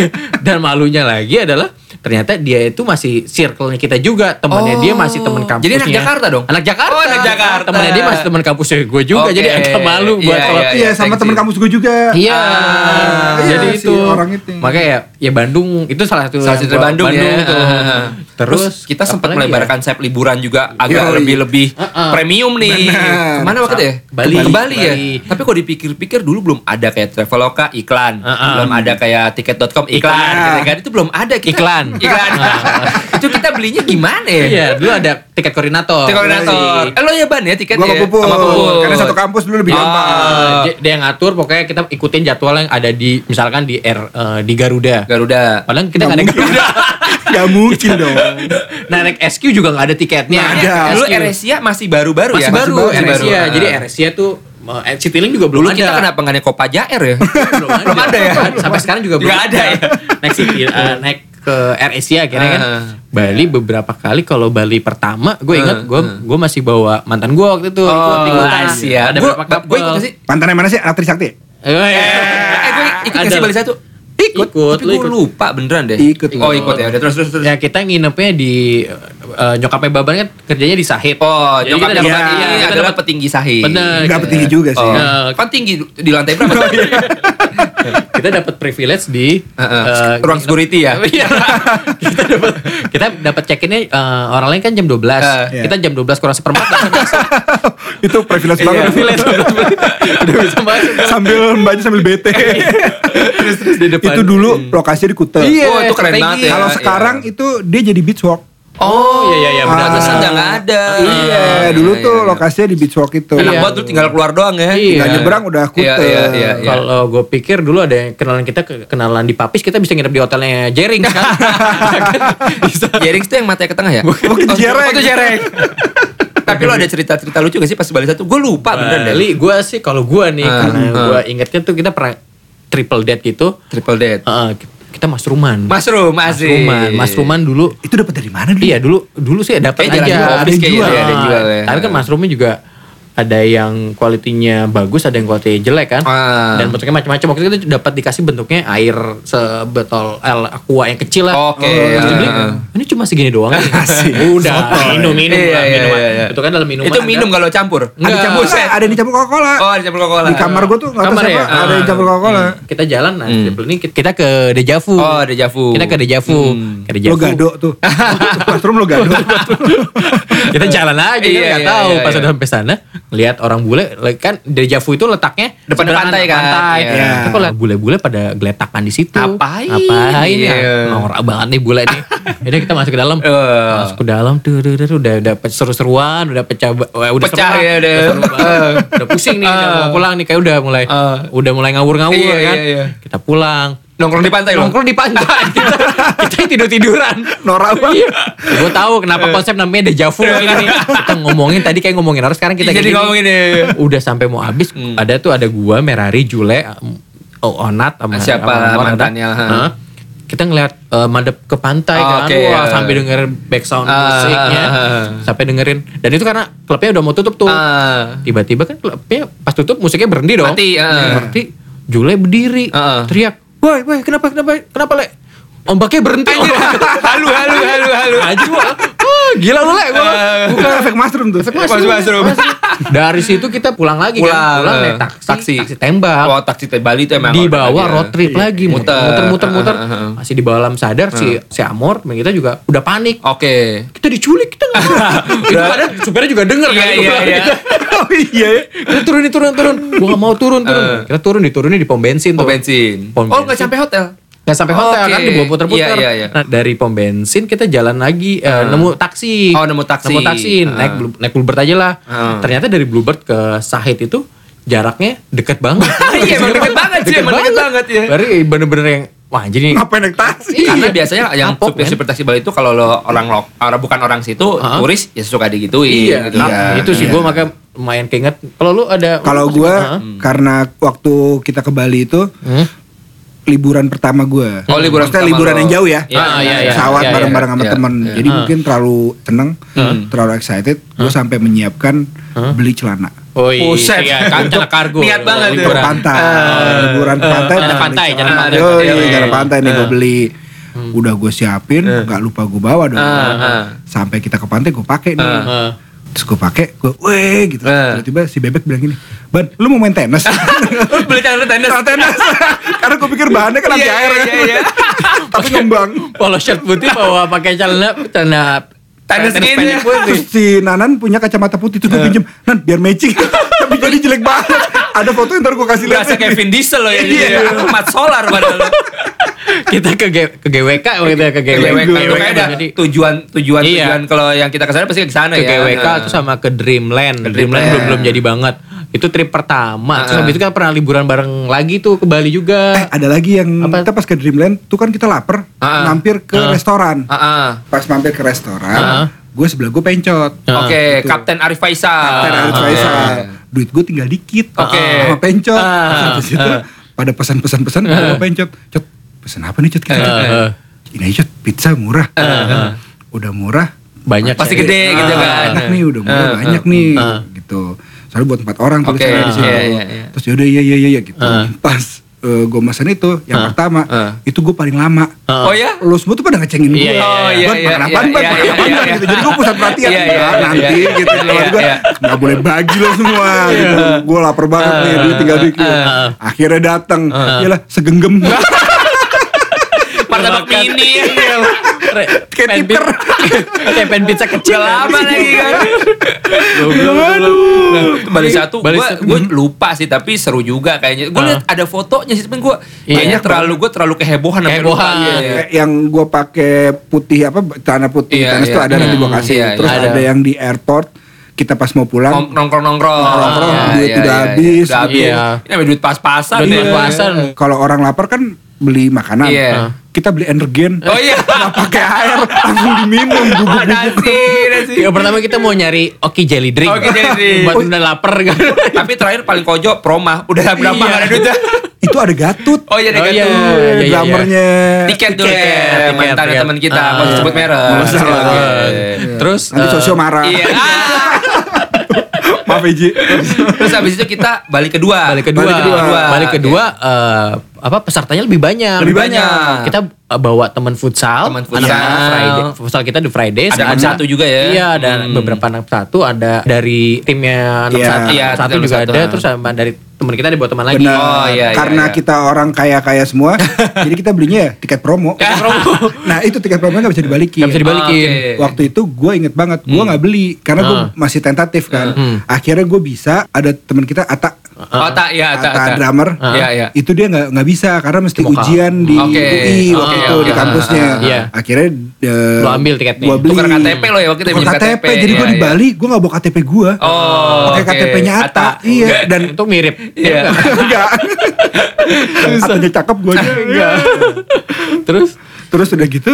[SPEAKER 1] dan malunya lagi adalah ternyata dia itu masih circle-nya kita juga temannya
[SPEAKER 2] Oh.
[SPEAKER 1] dia masih teman kampusnya
[SPEAKER 2] Jadi anak Jakarta dong?
[SPEAKER 1] anak Jakarta
[SPEAKER 2] Oh, anak Jakarta.
[SPEAKER 1] temannya dia masih teman kampusnya gue juga
[SPEAKER 2] Oke.
[SPEAKER 1] jadi agak malu buat
[SPEAKER 2] Iya,
[SPEAKER 1] kalau
[SPEAKER 2] iya,
[SPEAKER 3] Iya sama
[SPEAKER 2] thanks,
[SPEAKER 3] temen
[SPEAKER 2] iya.
[SPEAKER 3] kampus gue juga.
[SPEAKER 1] Iya,
[SPEAKER 2] Ah,
[SPEAKER 1] jadi
[SPEAKER 3] iya, si
[SPEAKER 1] itu.
[SPEAKER 3] orang itu.
[SPEAKER 1] Makanya ya, ya Bandung itu salah satu
[SPEAKER 2] Salah
[SPEAKER 1] yang
[SPEAKER 2] satu
[SPEAKER 1] gua-
[SPEAKER 2] Bandung, ya.
[SPEAKER 1] tuh.
[SPEAKER 2] Ah.
[SPEAKER 1] Terus,
[SPEAKER 2] Terus kita sempat
[SPEAKER 1] apalagi ya?
[SPEAKER 2] melebarkan sayap liburan juga agak
[SPEAKER 3] Yoi.
[SPEAKER 2] lebih-lebih
[SPEAKER 1] Heeh.
[SPEAKER 2] premium nih.
[SPEAKER 3] Benar.
[SPEAKER 2] Kemana waktu itu ya?
[SPEAKER 1] Ke Bali.
[SPEAKER 2] Ke Bali ya.
[SPEAKER 1] Bali.
[SPEAKER 2] Tapi kalau dipikir-pikir dulu belum ada kayak Traveloka iklan,
[SPEAKER 1] Heeh.
[SPEAKER 2] belum ada kayak tiket.com iklan,
[SPEAKER 1] Iklan.
[SPEAKER 2] gitu kan. Itu belum ada kita
[SPEAKER 1] Iklan.
[SPEAKER 2] iklan. itu kita belinya gimana ya?
[SPEAKER 1] Iya, dulu ada tiket koordinator. Iya,
[SPEAKER 2] Tiket koordinator. Eh, lo ya ban ya tiketnya?
[SPEAKER 3] Gua
[SPEAKER 2] ya?
[SPEAKER 3] sama Puput.
[SPEAKER 2] Sama Puput.
[SPEAKER 3] Karena satu kampus dulu lebih
[SPEAKER 2] Ah.
[SPEAKER 3] gampang.
[SPEAKER 1] Eh, dia- dia yang ngatur pokoknya kita ikutin jadwal yang ada di misalkan di R eh, di Garuda.
[SPEAKER 2] Garuda.
[SPEAKER 1] Padahal kita nggak ada Garuda.
[SPEAKER 3] Gak mungkin dong.
[SPEAKER 1] nah, naik SQ juga nggak ada tiketnya.
[SPEAKER 2] Nah,
[SPEAKER 3] ada.
[SPEAKER 2] dulu
[SPEAKER 1] SQ.
[SPEAKER 2] Eresia masih baru-baru
[SPEAKER 1] masih
[SPEAKER 2] ya?
[SPEAKER 1] baru,
[SPEAKER 2] masih
[SPEAKER 1] RSIA.
[SPEAKER 2] baru.
[SPEAKER 1] Jadi RSIA tuh eh, Citylink juga belum
[SPEAKER 2] Dulu
[SPEAKER 1] ada.
[SPEAKER 2] kita kenapa nggak naik Kopaja Air ya?
[SPEAKER 1] belum, ada.
[SPEAKER 2] Belum ada ya?
[SPEAKER 1] Sampai sekarang juga belum
[SPEAKER 2] Nggak ada ya?
[SPEAKER 1] Naik City, eh, naik ke Air Asia akhirnya kan.
[SPEAKER 2] Ah.
[SPEAKER 1] Bali beberapa kali kalau Bali pertama, gue ingat
[SPEAKER 2] Ah,
[SPEAKER 1] gue gue masih bawa mantan gue waktu itu.
[SPEAKER 2] Oh,
[SPEAKER 1] Ikut-ikutan.
[SPEAKER 2] Asia.
[SPEAKER 1] Ada
[SPEAKER 2] Gue
[SPEAKER 1] berapa couple.
[SPEAKER 2] gue ikut nggak sih?
[SPEAKER 3] Pantannya mana sih? Aktris sakti?
[SPEAKER 1] Eh,
[SPEAKER 2] Eh, gue ikut nggak
[SPEAKER 1] ada.
[SPEAKER 2] sih Bali satu?
[SPEAKER 1] Ikut,
[SPEAKER 2] Tapi
[SPEAKER 1] lu
[SPEAKER 2] gue
[SPEAKER 1] ikut.
[SPEAKER 2] lupa beneran deh.
[SPEAKER 3] Ikut.
[SPEAKER 2] Oh ikut ya. Udah, Terus terus terus.
[SPEAKER 1] Ya kita nginepnya di eh, nyokapnya Baban kan kerjanya di Sahid.
[SPEAKER 2] Oh,
[SPEAKER 1] Jadi
[SPEAKER 2] nyokap
[SPEAKER 1] kita dapat-
[SPEAKER 2] Baban
[SPEAKER 1] iya,
[SPEAKER 2] ini
[SPEAKER 1] kita
[SPEAKER 2] adalah
[SPEAKER 1] dapat-
[SPEAKER 2] petinggi sahih.
[SPEAKER 1] Bener.
[SPEAKER 3] Gak
[SPEAKER 1] Oke.
[SPEAKER 3] petinggi juga sih. Oh, iya.
[SPEAKER 2] Oh.
[SPEAKER 1] Iya.
[SPEAKER 2] Kan tinggi di lantai berapa?
[SPEAKER 1] Eh, kita dapat privilege di
[SPEAKER 2] Heeh.
[SPEAKER 1] eh,
[SPEAKER 2] Ruang security ya?
[SPEAKER 1] Iya. kita dapat kita dapat check-innya eh, orang lain kan jam 12.
[SPEAKER 3] iya.
[SPEAKER 1] Kita jam 12 kurang seperempat langsung masuk.
[SPEAKER 3] Itu privilege
[SPEAKER 1] Iya,
[SPEAKER 3] banget.
[SPEAKER 1] privilege. Udah bisa masuk.
[SPEAKER 3] Sambil mbaknya sambil bete.
[SPEAKER 1] Terus terus di depan.
[SPEAKER 3] itu dulu lokasinya di Kuta.
[SPEAKER 1] Iya,
[SPEAKER 2] Oh, itu keren
[SPEAKER 1] strategi.
[SPEAKER 2] banget ya.
[SPEAKER 3] Kalau sekarang itu dia jadi beach walk.
[SPEAKER 1] Oh, iya iya iya benar.
[SPEAKER 3] Ah.
[SPEAKER 2] Pantesan nggak ada.
[SPEAKER 3] Iya, dulu
[SPEAKER 2] iya,
[SPEAKER 3] tuh
[SPEAKER 2] iya.
[SPEAKER 3] lokasinya di beach walk itu.
[SPEAKER 2] Enak
[SPEAKER 1] Iya.
[SPEAKER 2] banget lu tinggal keluar doang ya.
[SPEAKER 1] Iya.
[SPEAKER 3] Gak nyebrang udah Kuta.
[SPEAKER 2] Iya, iya, iya, iya.
[SPEAKER 1] Kalau gue pikir dulu ada yang kenalan kita ke- kenalan di Papis kita bisa nginep di hotelnya Jering kan. bisa.
[SPEAKER 2] Jerings tuh yang matanya ke tengah ya?
[SPEAKER 3] Oh, itu jereng.
[SPEAKER 2] Oh, itu jereng. Tapi lo ada cerita-cerita lucu gak sih pas Bali satu? Gue lupa beneran deh.
[SPEAKER 1] Bali gue sih kalau gue nih
[SPEAKER 2] Ah,
[SPEAKER 1] karena
[SPEAKER 2] ah.
[SPEAKER 1] gue ingetnya tuh kita pernah triple date gitu.
[SPEAKER 2] Triple date.
[SPEAKER 1] Heeh, kita masruman.
[SPEAKER 2] Mushroom, asik.
[SPEAKER 1] Masruman, masruman dulu.
[SPEAKER 3] Itu dapat dari mana dulu?
[SPEAKER 1] Iya dulu dulu sih dapat
[SPEAKER 2] Kayaknya Eh, jalan
[SPEAKER 1] aja
[SPEAKER 2] di office kayaknya ya, ada yang jual ya.
[SPEAKER 1] Tapi kan masrumnya juga ada yang kualitinya bagus, ada yang kualitinya jelek kan.
[SPEAKER 2] Ah.
[SPEAKER 1] Dan bentuknya macam-macam. Waktu itu kita dapat dikasih bentuknya air sebotol el aqua yang kecil lah.
[SPEAKER 2] Oke.
[SPEAKER 1] Terus dibeli,
[SPEAKER 2] ah.
[SPEAKER 1] ini cuma segini doang. nih."
[SPEAKER 3] Asik.
[SPEAKER 1] Udah minum minum
[SPEAKER 2] Iya,
[SPEAKER 1] lah,
[SPEAKER 2] iya,
[SPEAKER 1] minuman.
[SPEAKER 2] iya, iya.
[SPEAKER 1] Itu kan dalam minuman.
[SPEAKER 2] Itu
[SPEAKER 1] ada-
[SPEAKER 2] minum kalau campur.
[SPEAKER 1] Enggak.
[SPEAKER 2] Ada campur
[SPEAKER 3] Enggak,
[SPEAKER 2] set.
[SPEAKER 3] ada yang dicampur Coca-Cola.
[SPEAKER 2] Oh, ada campur Coca-Cola.
[SPEAKER 3] Di kamar gue tuh nggak tahu
[SPEAKER 1] Kamar
[SPEAKER 3] siapa
[SPEAKER 1] ya?
[SPEAKER 3] ada yang
[SPEAKER 1] Ah.
[SPEAKER 3] campur Coca-Cola.
[SPEAKER 1] kita jalan nah
[SPEAKER 2] Hmm.
[SPEAKER 1] triple ini kita ke Dejavu.
[SPEAKER 2] Oh, Hmm. Dejavu.
[SPEAKER 1] Kita ke Dejavu. Ke Dejavu.
[SPEAKER 3] Lo gado tuh. Mushroom lo gado.
[SPEAKER 1] kita jalan aja
[SPEAKER 2] Iya,
[SPEAKER 1] kan nggak
[SPEAKER 2] iya,
[SPEAKER 1] tahu
[SPEAKER 2] iya,
[SPEAKER 1] pas
[SPEAKER 2] iya.
[SPEAKER 1] udah sampai sana lihat orang bule kan Dejavu itu letaknya
[SPEAKER 2] Depan
[SPEAKER 1] seberangan
[SPEAKER 2] pantai kan? Iya.
[SPEAKER 1] Kita kok lihat bule-bule pada geletakan di situ
[SPEAKER 2] Ngapain?
[SPEAKER 1] ngapain
[SPEAKER 2] Iya.
[SPEAKER 1] ya norak banget nih bule nih jadi kita masuk ke dalam
[SPEAKER 2] Eh.
[SPEAKER 1] masuk ke dalam tuh, tuh, tuh, tuh, udah udah pe- seru-seruan udah pecah ba- wah, udah
[SPEAKER 2] Pecah
[SPEAKER 1] seru
[SPEAKER 2] ya,
[SPEAKER 1] banget,
[SPEAKER 2] udah.
[SPEAKER 1] seru banget. udah pusing nih udah
[SPEAKER 2] Eh.
[SPEAKER 1] mau pulang nih kayak udah mulai
[SPEAKER 2] Eh.
[SPEAKER 1] udah mulai ngawur-ngawur
[SPEAKER 2] Iya,
[SPEAKER 1] kan
[SPEAKER 2] iya, iya.
[SPEAKER 1] kita pulang
[SPEAKER 2] Nongkrong di pantai lo.
[SPEAKER 1] nongkrong di pantai kita, kita Gitu. tidur tiduran
[SPEAKER 3] Norak
[SPEAKER 2] Iya.
[SPEAKER 3] banget.
[SPEAKER 1] gue tahu kenapa
[SPEAKER 2] Eh.
[SPEAKER 1] konsep namanya dejavu ini kita ngomongin tadi kayak ngomongin harus sekarang kita kayak
[SPEAKER 2] Jadi
[SPEAKER 1] gini.
[SPEAKER 2] ngomongin Hmm. ya.
[SPEAKER 1] udah sampai mau habis ada tuh ada gua Merari Jule oh, Onat sama
[SPEAKER 2] Siapa
[SPEAKER 1] sama Anwar, ada.
[SPEAKER 2] mantannya, ha.
[SPEAKER 1] Heeh. kita ngeliat eh, mandep ke pantai
[SPEAKER 2] Oh,
[SPEAKER 1] kan
[SPEAKER 2] oke.
[SPEAKER 1] wah sampai dengerin background
[SPEAKER 2] Ah,
[SPEAKER 1] musiknya
[SPEAKER 2] ah, ah.
[SPEAKER 1] sampai dengerin dan itu karena klubnya udah mau tutup tuh
[SPEAKER 2] Ah.
[SPEAKER 1] tiba-tiba kan klubnya pas tutup musiknya berhenti dong
[SPEAKER 2] Mati, ah.
[SPEAKER 1] berhenti Jule berdiri
[SPEAKER 2] Ah.
[SPEAKER 1] teriak woi woi kenapa kenapa kenapa le ombaknya berhenti
[SPEAKER 2] Halu, halu, halu, halu.
[SPEAKER 1] Aji gua. ah. "Wah, gila lu le gua.
[SPEAKER 2] Eh,
[SPEAKER 3] Bukan efek mushroom tuh.
[SPEAKER 1] Mas,
[SPEAKER 2] Mas,
[SPEAKER 1] lu,
[SPEAKER 2] Mas, Rum.
[SPEAKER 1] Mas, lu. Dari situ kita pulang lagi kan.
[SPEAKER 2] Pulang,
[SPEAKER 1] Pulang
[SPEAKER 2] eh.
[SPEAKER 1] naik taksi,
[SPEAKER 2] Taksi.
[SPEAKER 1] taksi, tembak.
[SPEAKER 2] Oh, taksi te- Bali tuh emang.
[SPEAKER 1] di
[SPEAKER 2] kalau
[SPEAKER 1] bawah
[SPEAKER 2] tadi ya.
[SPEAKER 1] road trip lagi
[SPEAKER 2] Muter.
[SPEAKER 1] muter muter muter
[SPEAKER 2] Ah, ah, ah.
[SPEAKER 1] masih di bawah alam sadar si si Amor teman kita juga udah panik
[SPEAKER 2] Oke.
[SPEAKER 1] kita diculik kita nggak mau. itu kadang supirnya juga denger
[SPEAKER 2] Iya,
[SPEAKER 1] kan
[SPEAKER 2] iya, iya.
[SPEAKER 3] Oh iya ya.
[SPEAKER 1] kita turunin turun turun gua gak mau turun turun
[SPEAKER 2] Eh.
[SPEAKER 1] kita turun diturunin di pom bensin tuh.
[SPEAKER 2] Pom bensin.
[SPEAKER 1] Pom
[SPEAKER 2] Oh,
[SPEAKER 1] bensin.
[SPEAKER 2] nggak sampai hotel.
[SPEAKER 1] Gak sampai hotel
[SPEAKER 2] Oke.
[SPEAKER 1] kan dibawa puter-puter.
[SPEAKER 2] Iya, iya, iya.
[SPEAKER 1] Nah, dari pom bensin kita jalan lagi eh,
[SPEAKER 2] Hmm.
[SPEAKER 1] nemu taksi.
[SPEAKER 2] Oh, nemu taksi.
[SPEAKER 1] Nemu taksi,
[SPEAKER 2] Hmm.
[SPEAKER 1] naik Blu- naik Bluebird aja lah.
[SPEAKER 2] Hmm.
[SPEAKER 1] Ternyata dari Bluebird ke Sahid itu jaraknya deket banget.
[SPEAKER 2] Iya, emang deket banget sih, emang deket banget, ya.
[SPEAKER 1] Berarti bener-bener yang wah anjir nih.
[SPEAKER 3] Ngapain naik taksi?
[SPEAKER 1] Iya.
[SPEAKER 2] Karena biasanya yang
[SPEAKER 1] Kapok,
[SPEAKER 2] supir
[SPEAKER 1] men.
[SPEAKER 2] supir taksi Bali itu kalau lo orang lok, orang bukan orang situ,
[SPEAKER 1] Ah.
[SPEAKER 2] turis ya suka digituin.
[SPEAKER 1] Iya,
[SPEAKER 2] gitu.
[SPEAKER 1] nah, itu sih
[SPEAKER 2] Iya.
[SPEAKER 1] gue makanya lumayan keinget. Kalau lu ada
[SPEAKER 3] Kalau gue
[SPEAKER 1] Hah?
[SPEAKER 3] karena waktu kita ke Bali itu
[SPEAKER 1] Hmm?
[SPEAKER 3] liburan pertama gue.
[SPEAKER 2] Oh, liburan pertama
[SPEAKER 3] Maksudnya liburan
[SPEAKER 2] lo.
[SPEAKER 3] yang jauh ya.
[SPEAKER 1] Ah, iya, iya.
[SPEAKER 3] Pesawat
[SPEAKER 1] Iya, iya.
[SPEAKER 3] bareng-bareng sama
[SPEAKER 2] Iya,
[SPEAKER 3] temen.
[SPEAKER 2] iya.
[SPEAKER 3] Jadi
[SPEAKER 1] Ah.
[SPEAKER 3] mungkin terlalu tenang, terlalu excited. Gue sampai menyiapkan beli celana.
[SPEAKER 1] Oh
[SPEAKER 2] Buset.
[SPEAKER 1] iya, kan celana kargo.
[SPEAKER 2] Niat banget ya.
[SPEAKER 3] Liburan
[SPEAKER 1] liburan.
[SPEAKER 3] pantai,
[SPEAKER 2] Eh,
[SPEAKER 3] liburan ke pantai,
[SPEAKER 1] jalan
[SPEAKER 3] beli
[SPEAKER 1] pantai,
[SPEAKER 3] celana.
[SPEAKER 1] jalan pantai,
[SPEAKER 2] Iya,
[SPEAKER 3] Yoi,
[SPEAKER 1] jalan pantai.
[SPEAKER 3] jalan pantai nih
[SPEAKER 2] Eh.
[SPEAKER 3] gue beli.
[SPEAKER 2] Hmm.
[SPEAKER 3] Udah gue siapin, nggak lupa gue bawa dong.
[SPEAKER 2] Ah, ah.
[SPEAKER 3] Sampai kita ke pantai gue pakai nih.
[SPEAKER 2] Ah.
[SPEAKER 1] Heeh.
[SPEAKER 3] Terus gue pakai, gue weh gitu.
[SPEAKER 2] Ah.
[SPEAKER 3] Tiba-tiba si bebek bilang gini, Ban, lu mau main tenis?
[SPEAKER 2] Beli celana tenis.
[SPEAKER 3] Celana tenis. Karena gue pikir bahannya kan anti
[SPEAKER 2] Iya,
[SPEAKER 3] air
[SPEAKER 2] iya,
[SPEAKER 3] kan.
[SPEAKER 2] iya, iya.
[SPEAKER 3] Tapi ngembang.
[SPEAKER 1] Polo shirt putih bawa pakai celana celana
[SPEAKER 2] Tenis gini.
[SPEAKER 1] pendek Iya. putih.
[SPEAKER 3] Terus si Nanan punya kacamata putih terus gue pinjem, Nan biar matching. Tapi jadi jelek banget. Ada foto yang ntar gue kasih lihat.
[SPEAKER 2] Berasa
[SPEAKER 3] nih.
[SPEAKER 1] Iya.
[SPEAKER 2] Kevin Diesel lo ya.
[SPEAKER 3] Iya.
[SPEAKER 2] Mat Solar padahal.
[SPEAKER 1] kita ke G- ke GWK kita ya, ke GWK.
[SPEAKER 2] GWK itu
[SPEAKER 1] Jadi-
[SPEAKER 2] kayak ada tujuan tujuan
[SPEAKER 1] Iya.
[SPEAKER 2] tujuan kalau yang kita kesana pasti ke sana
[SPEAKER 1] ke
[SPEAKER 2] ya.
[SPEAKER 1] GWK
[SPEAKER 2] Heeh.
[SPEAKER 1] tuh sama ke Dreamland.
[SPEAKER 2] Ke
[SPEAKER 1] Dreamland,
[SPEAKER 2] Dreamland. Ah.
[SPEAKER 1] belum belum jadi banget. Itu trip pertama. Terus
[SPEAKER 2] Heeh.
[SPEAKER 1] habis itu kan pernah liburan bareng lagi tuh ke Bali
[SPEAKER 3] Eh,
[SPEAKER 1] juga.
[SPEAKER 3] ada lagi yang
[SPEAKER 1] Apa?
[SPEAKER 3] kita pas ke Dreamland tuh kan kita lapar,
[SPEAKER 2] Ah, ah.
[SPEAKER 3] mampir ke restoran.
[SPEAKER 2] Heeh.
[SPEAKER 3] Pas mampir ke restoran,
[SPEAKER 1] Ah.
[SPEAKER 3] gue sebelah gue pencot.
[SPEAKER 1] Nah,
[SPEAKER 2] Oke,
[SPEAKER 3] Gitu.
[SPEAKER 2] Kapten Arif Faisal.
[SPEAKER 3] Kapten Arif
[SPEAKER 2] Oke.
[SPEAKER 3] Faisal. Duit gue tinggal dikit.
[SPEAKER 2] Oke.
[SPEAKER 3] Sama pencot.
[SPEAKER 1] Ah.
[SPEAKER 3] Terus habis itu pada pesan-pesan-pesan sama pencot. Cot, pesan apa nih cot kita? Cot?"
[SPEAKER 1] Ah.
[SPEAKER 3] Ini aja Cot, pizza murah. Udah murah.
[SPEAKER 1] Banyak
[SPEAKER 2] Pasti
[SPEAKER 1] sih.
[SPEAKER 2] gede
[SPEAKER 1] Ah.
[SPEAKER 2] gitu
[SPEAKER 3] "Ah,
[SPEAKER 2] kan.
[SPEAKER 3] Enak nih udah murah
[SPEAKER 2] Ah.
[SPEAKER 3] banyak nih.
[SPEAKER 1] Ah.
[SPEAKER 3] Gitu. Soalnya buat empat orang
[SPEAKER 2] Oke,
[SPEAKER 3] tulisannya di situ.
[SPEAKER 2] iya, iya, iya.
[SPEAKER 3] Terus yaudah iya iya iya iya," gitu.
[SPEAKER 1] Ah.
[SPEAKER 3] Pas gue pesan itu yang
[SPEAKER 1] Ah.
[SPEAKER 3] pertama.
[SPEAKER 2] Ah.
[SPEAKER 3] Itu gue paling lama.
[SPEAKER 1] Heeh.
[SPEAKER 2] Oh ya?
[SPEAKER 3] Lu semua tuh pada ngecengin gue.
[SPEAKER 1] Iya, iya,
[SPEAKER 2] Oh
[SPEAKER 1] iya.
[SPEAKER 2] iya
[SPEAKER 3] Ban,
[SPEAKER 2] iya.
[SPEAKER 3] makan
[SPEAKER 2] iya,
[SPEAKER 3] apaan, Ban?
[SPEAKER 2] iya,
[SPEAKER 3] Makan
[SPEAKER 2] iya,
[SPEAKER 3] apaan,
[SPEAKER 2] iya,
[SPEAKER 3] Ban?
[SPEAKER 2] iya.
[SPEAKER 3] Gitu. Jadi gue pusat
[SPEAKER 2] Iya,
[SPEAKER 3] perhatian.
[SPEAKER 2] iya,
[SPEAKER 3] Nah,
[SPEAKER 2] iya,
[SPEAKER 3] nanti
[SPEAKER 2] iya,
[SPEAKER 3] gitu.
[SPEAKER 2] iya,
[SPEAKER 3] Maksud gue,
[SPEAKER 2] iya.
[SPEAKER 3] nggak boleh bagi lo semua. gitu. Gue lapar banget nih,
[SPEAKER 2] Ah.
[SPEAKER 3] duit tinggal dikit. Akhirnya datang, iyalah segenggem.
[SPEAKER 2] Martabak mini.
[SPEAKER 1] Iya. Re-
[SPEAKER 3] Kayak
[SPEAKER 1] pen
[SPEAKER 3] tiker.
[SPEAKER 1] pi- Kayak pen pizza kecil.
[SPEAKER 2] Udah lama lagi kan.
[SPEAKER 1] Goblok, goblok.
[SPEAKER 2] Nah, itu Bali satu,
[SPEAKER 1] Iya. Bali
[SPEAKER 2] gue
[SPEAKER 1] satu. Mm-hmm. Ah.
[SPEAKER 2] gue lupa sih tapi seru juga kayaknya. Gue liat ada fotonya sih, tapi gue
[SPEAKER 1] Iya.
[SPEAKER 2] kayaknya terlalu gue terlalu kehebohan. sampai lupa.
[SPEAKER 1] Kehebohan.
[SPEAKER 2] Iya, iya.
[SPEAKER 3] Kayak yang gue pakai putih apa tanah putih
[SPEAKER 2] Iya,
[SPEAKER 3] tanah itu
[SPEAKER 2] iya.
[SPEAKER 3] ada nanti gue
[SPEAKER 2] Hmm,
[SPEAKER 3] kasih
[SPEAKER 2] iya,
[SPEAKER 3] terus
[SPEAKER 1] iya.
[SPEAKER 3] ada.
[SPEAKER 1] Ada.
[SPEAKER 3] yang di airport kita pas mau
[SPEAKER 2] Nong-
[SPEAKER 3] pulang
[SPEAKER 2] Nongkrong-nongkrong.
[SPEAKER 3] Nongkrong-nongkrong, Kan
[SPEAKER 2] Iya,
[SPEAKER 3] duit udah habis,
[SPEAKER 2] Udah habis.
[SPEAKER 1] Iya.
[SPEAKER 2] Ini namanya duit pas-pasan.
[SPEAKER 1] Duit
[SPEAKER 2] ya.
[SPEAKER 1] pas-pasan.
[SPEAKER 3] kalau orang lapar kan beli makanan
[SPEAKER 2] Iya.
[SPEAKER 3] Nah, kita beli energen
[SPEAKER 2] Oh iya.
[SPEAKER 3] pakai air langsung diminum
[SPEAKER 2] Oh,
[SPEAKER 3] gubuk-gubuk
[SPEAKER 2] nasi, nasi.
[SPEAKER 1] Ya, pertama kita mau nyari Oki Jelly Drink.
[SPEAKER 2] Oki Jelly Drink.
[SPEAKER 1] Buat udah lapar kan.
[SPEAKER 2] Tapi terakhir paling kojok Proma. Udah
[SPEAKER 1] Iya.
[SPEAKER 2] berapa nggak ada duitnya?
[SPEAKER 3] itu ada gatut
[SPEAKER 2] Oh iya,
[SPEAKER 1] Oh,
[SPEAKER 2] dekat
[SPEAKER 1] iya.
[SPEAKER 2] tuh.
[SPEAKER 1] iya, iya.
[SPEAKER 3] drummernya
[SPEAKER 2] Tiket dulu
[SPEAKER 1] Tiket,
[SPEAKER 2] ya,
[SPEAKER 1] tiket,
[SPEAKER 2] mantan
[SPEAKER 1] tiket.
[SPEAKER 2] teman kita,
[SPEAKER 1] Ah.
[SPEAKER 2] mau sebut merek.
[SPEAKER 3] Nggak masalah.
[SPEAKER 2] Oke.
[SPEAKER 1] Terus
[SPEAKER 3] nanti
[SPEAKER 1] eh,
[SPEAKER 3] sosio marah
[SPEAKER 2] Iya. Ah.
[SPEAKER 3] maaf Eji
[SPEAKER 2] Terus habis itu kita balik kedua.
[SPEAKER 1] balik kedua,
[SPEAKER 2] Balik kedua. Iya.
[SPEAKER 1] Balik kedua, eh, apa pesertanya lebih banyak.
[SPEAKER 2] Lebih banyak.
[SPEAKER 1] Kita eh, bawa teman futsal,
[SPEAKER 2] Teman
[SPEAKER 1] anak-anak
[SPEAKER 2] futsal.
[SPEAKER 1] Friday, futsal kita di Friday.
[SPEAKER 2] Ada anak satu juga ya.
[SPEAKER 1] Iya, ada
[SPEAKER 2] Hmm.
[SPEAKER 1] beberapa anak satu, ada dari timnya anak
[SPEAKER 3] Iya.
[SPEAKER 1] satu,
[SPEAKER 2] Iya,
[SPEAKER 1] anak satu
[SPEAKER 2] tim
[SPEAKER 1] juga
[SPEAKER 2] anak satu.
[SPEAKER 1] ada, terus sama dari teman kita ada buat teman lagi.
[SPEAKER 3] benar
[SPEAKER 2] Oh, iya, iya,
[SPEAKER 3] karena
[SPEAKER 2] iya.
[SPEAKER 3] kita orang kaya kaya semua jadi kita belinya ya tiket promo
[SPEAKER 2] Tiket promo.
[SPEAKER 3] nah itu tiket promo nggak bisa dibalikin
[SPEAKER 1] Nggak bisa dibalikin.
[SPEAKER 2] Oke. Hmm.
[SPEAKER 3] waktu itu gue inget banget gue nggak beli karena gue
[SPEAKER 1] Ah.
[SPEAKER 3] masih tentatif kan
[SPEAKER 1] Hmm.
[SPEAKER 3] akhirnya gue bisa ada teman kita Ata
[SPEAKER 2] Oh tak, iya
[SPEAKER 3] Ata,
[SPEAKER 2] tak. tak.
[SPEAKER 3] drummer
[SPEAKER 2] Ah. Iya, iya.
[SPEAKER 3] itu dia nggak nggak bisa karena mesti
[SPEAKER 1] Vokal.
[SPEAKER 3] ujian di
[SPEAKER 2] Oke.
[SPEAKER 3] UI waktu
[SPEAKER 2] Oke,
[SPEAKER 3] itu
[SPEAKER 2] oke.
[SPEAKER 3] di kampusnya
[SPEAKER 1] Ah, ah, ah. Iya.
[SPEAKER 3] akhirnya eh,
[SPEAKER 1] Lu ambil tiketnya.
[SPEAKER 3] gua beli
[SPEAKER 2] Tukar KTP lo ya, waktu itu
[SPEAKER 3] Tukar
[SPEAKER 2] minjem
[SPEAKER 3] KTP,
[SPEAKER 2] KTP,
[SPEAKER 3] jadi gue
[SPEAKER 2] iya,
[SPEAKER 3] di
[SPEAKER 2] iya.
[SPEAKER 3] Bali gue nggak bawa KTP gue
[SPEAKER 2] Oh,
[SPEAKER 3] pakai
[SPEAKER 2] oke.
[SPEAKER 3] KTP-nya Ata,
[SPEAKER 2] Ata.
[SPEAKER 3] iya
[SPEAKER 2] Enggak.
[SPEAKER 3] dan
[SPEAKER 1] Itu mirip.
[SPEAKER 2] Iya.
[SPEAKER 3] enggak Atanya cakep gue aja enggak
[SPEAKER 1] terus
[SPEAKER 3] terus udah gitu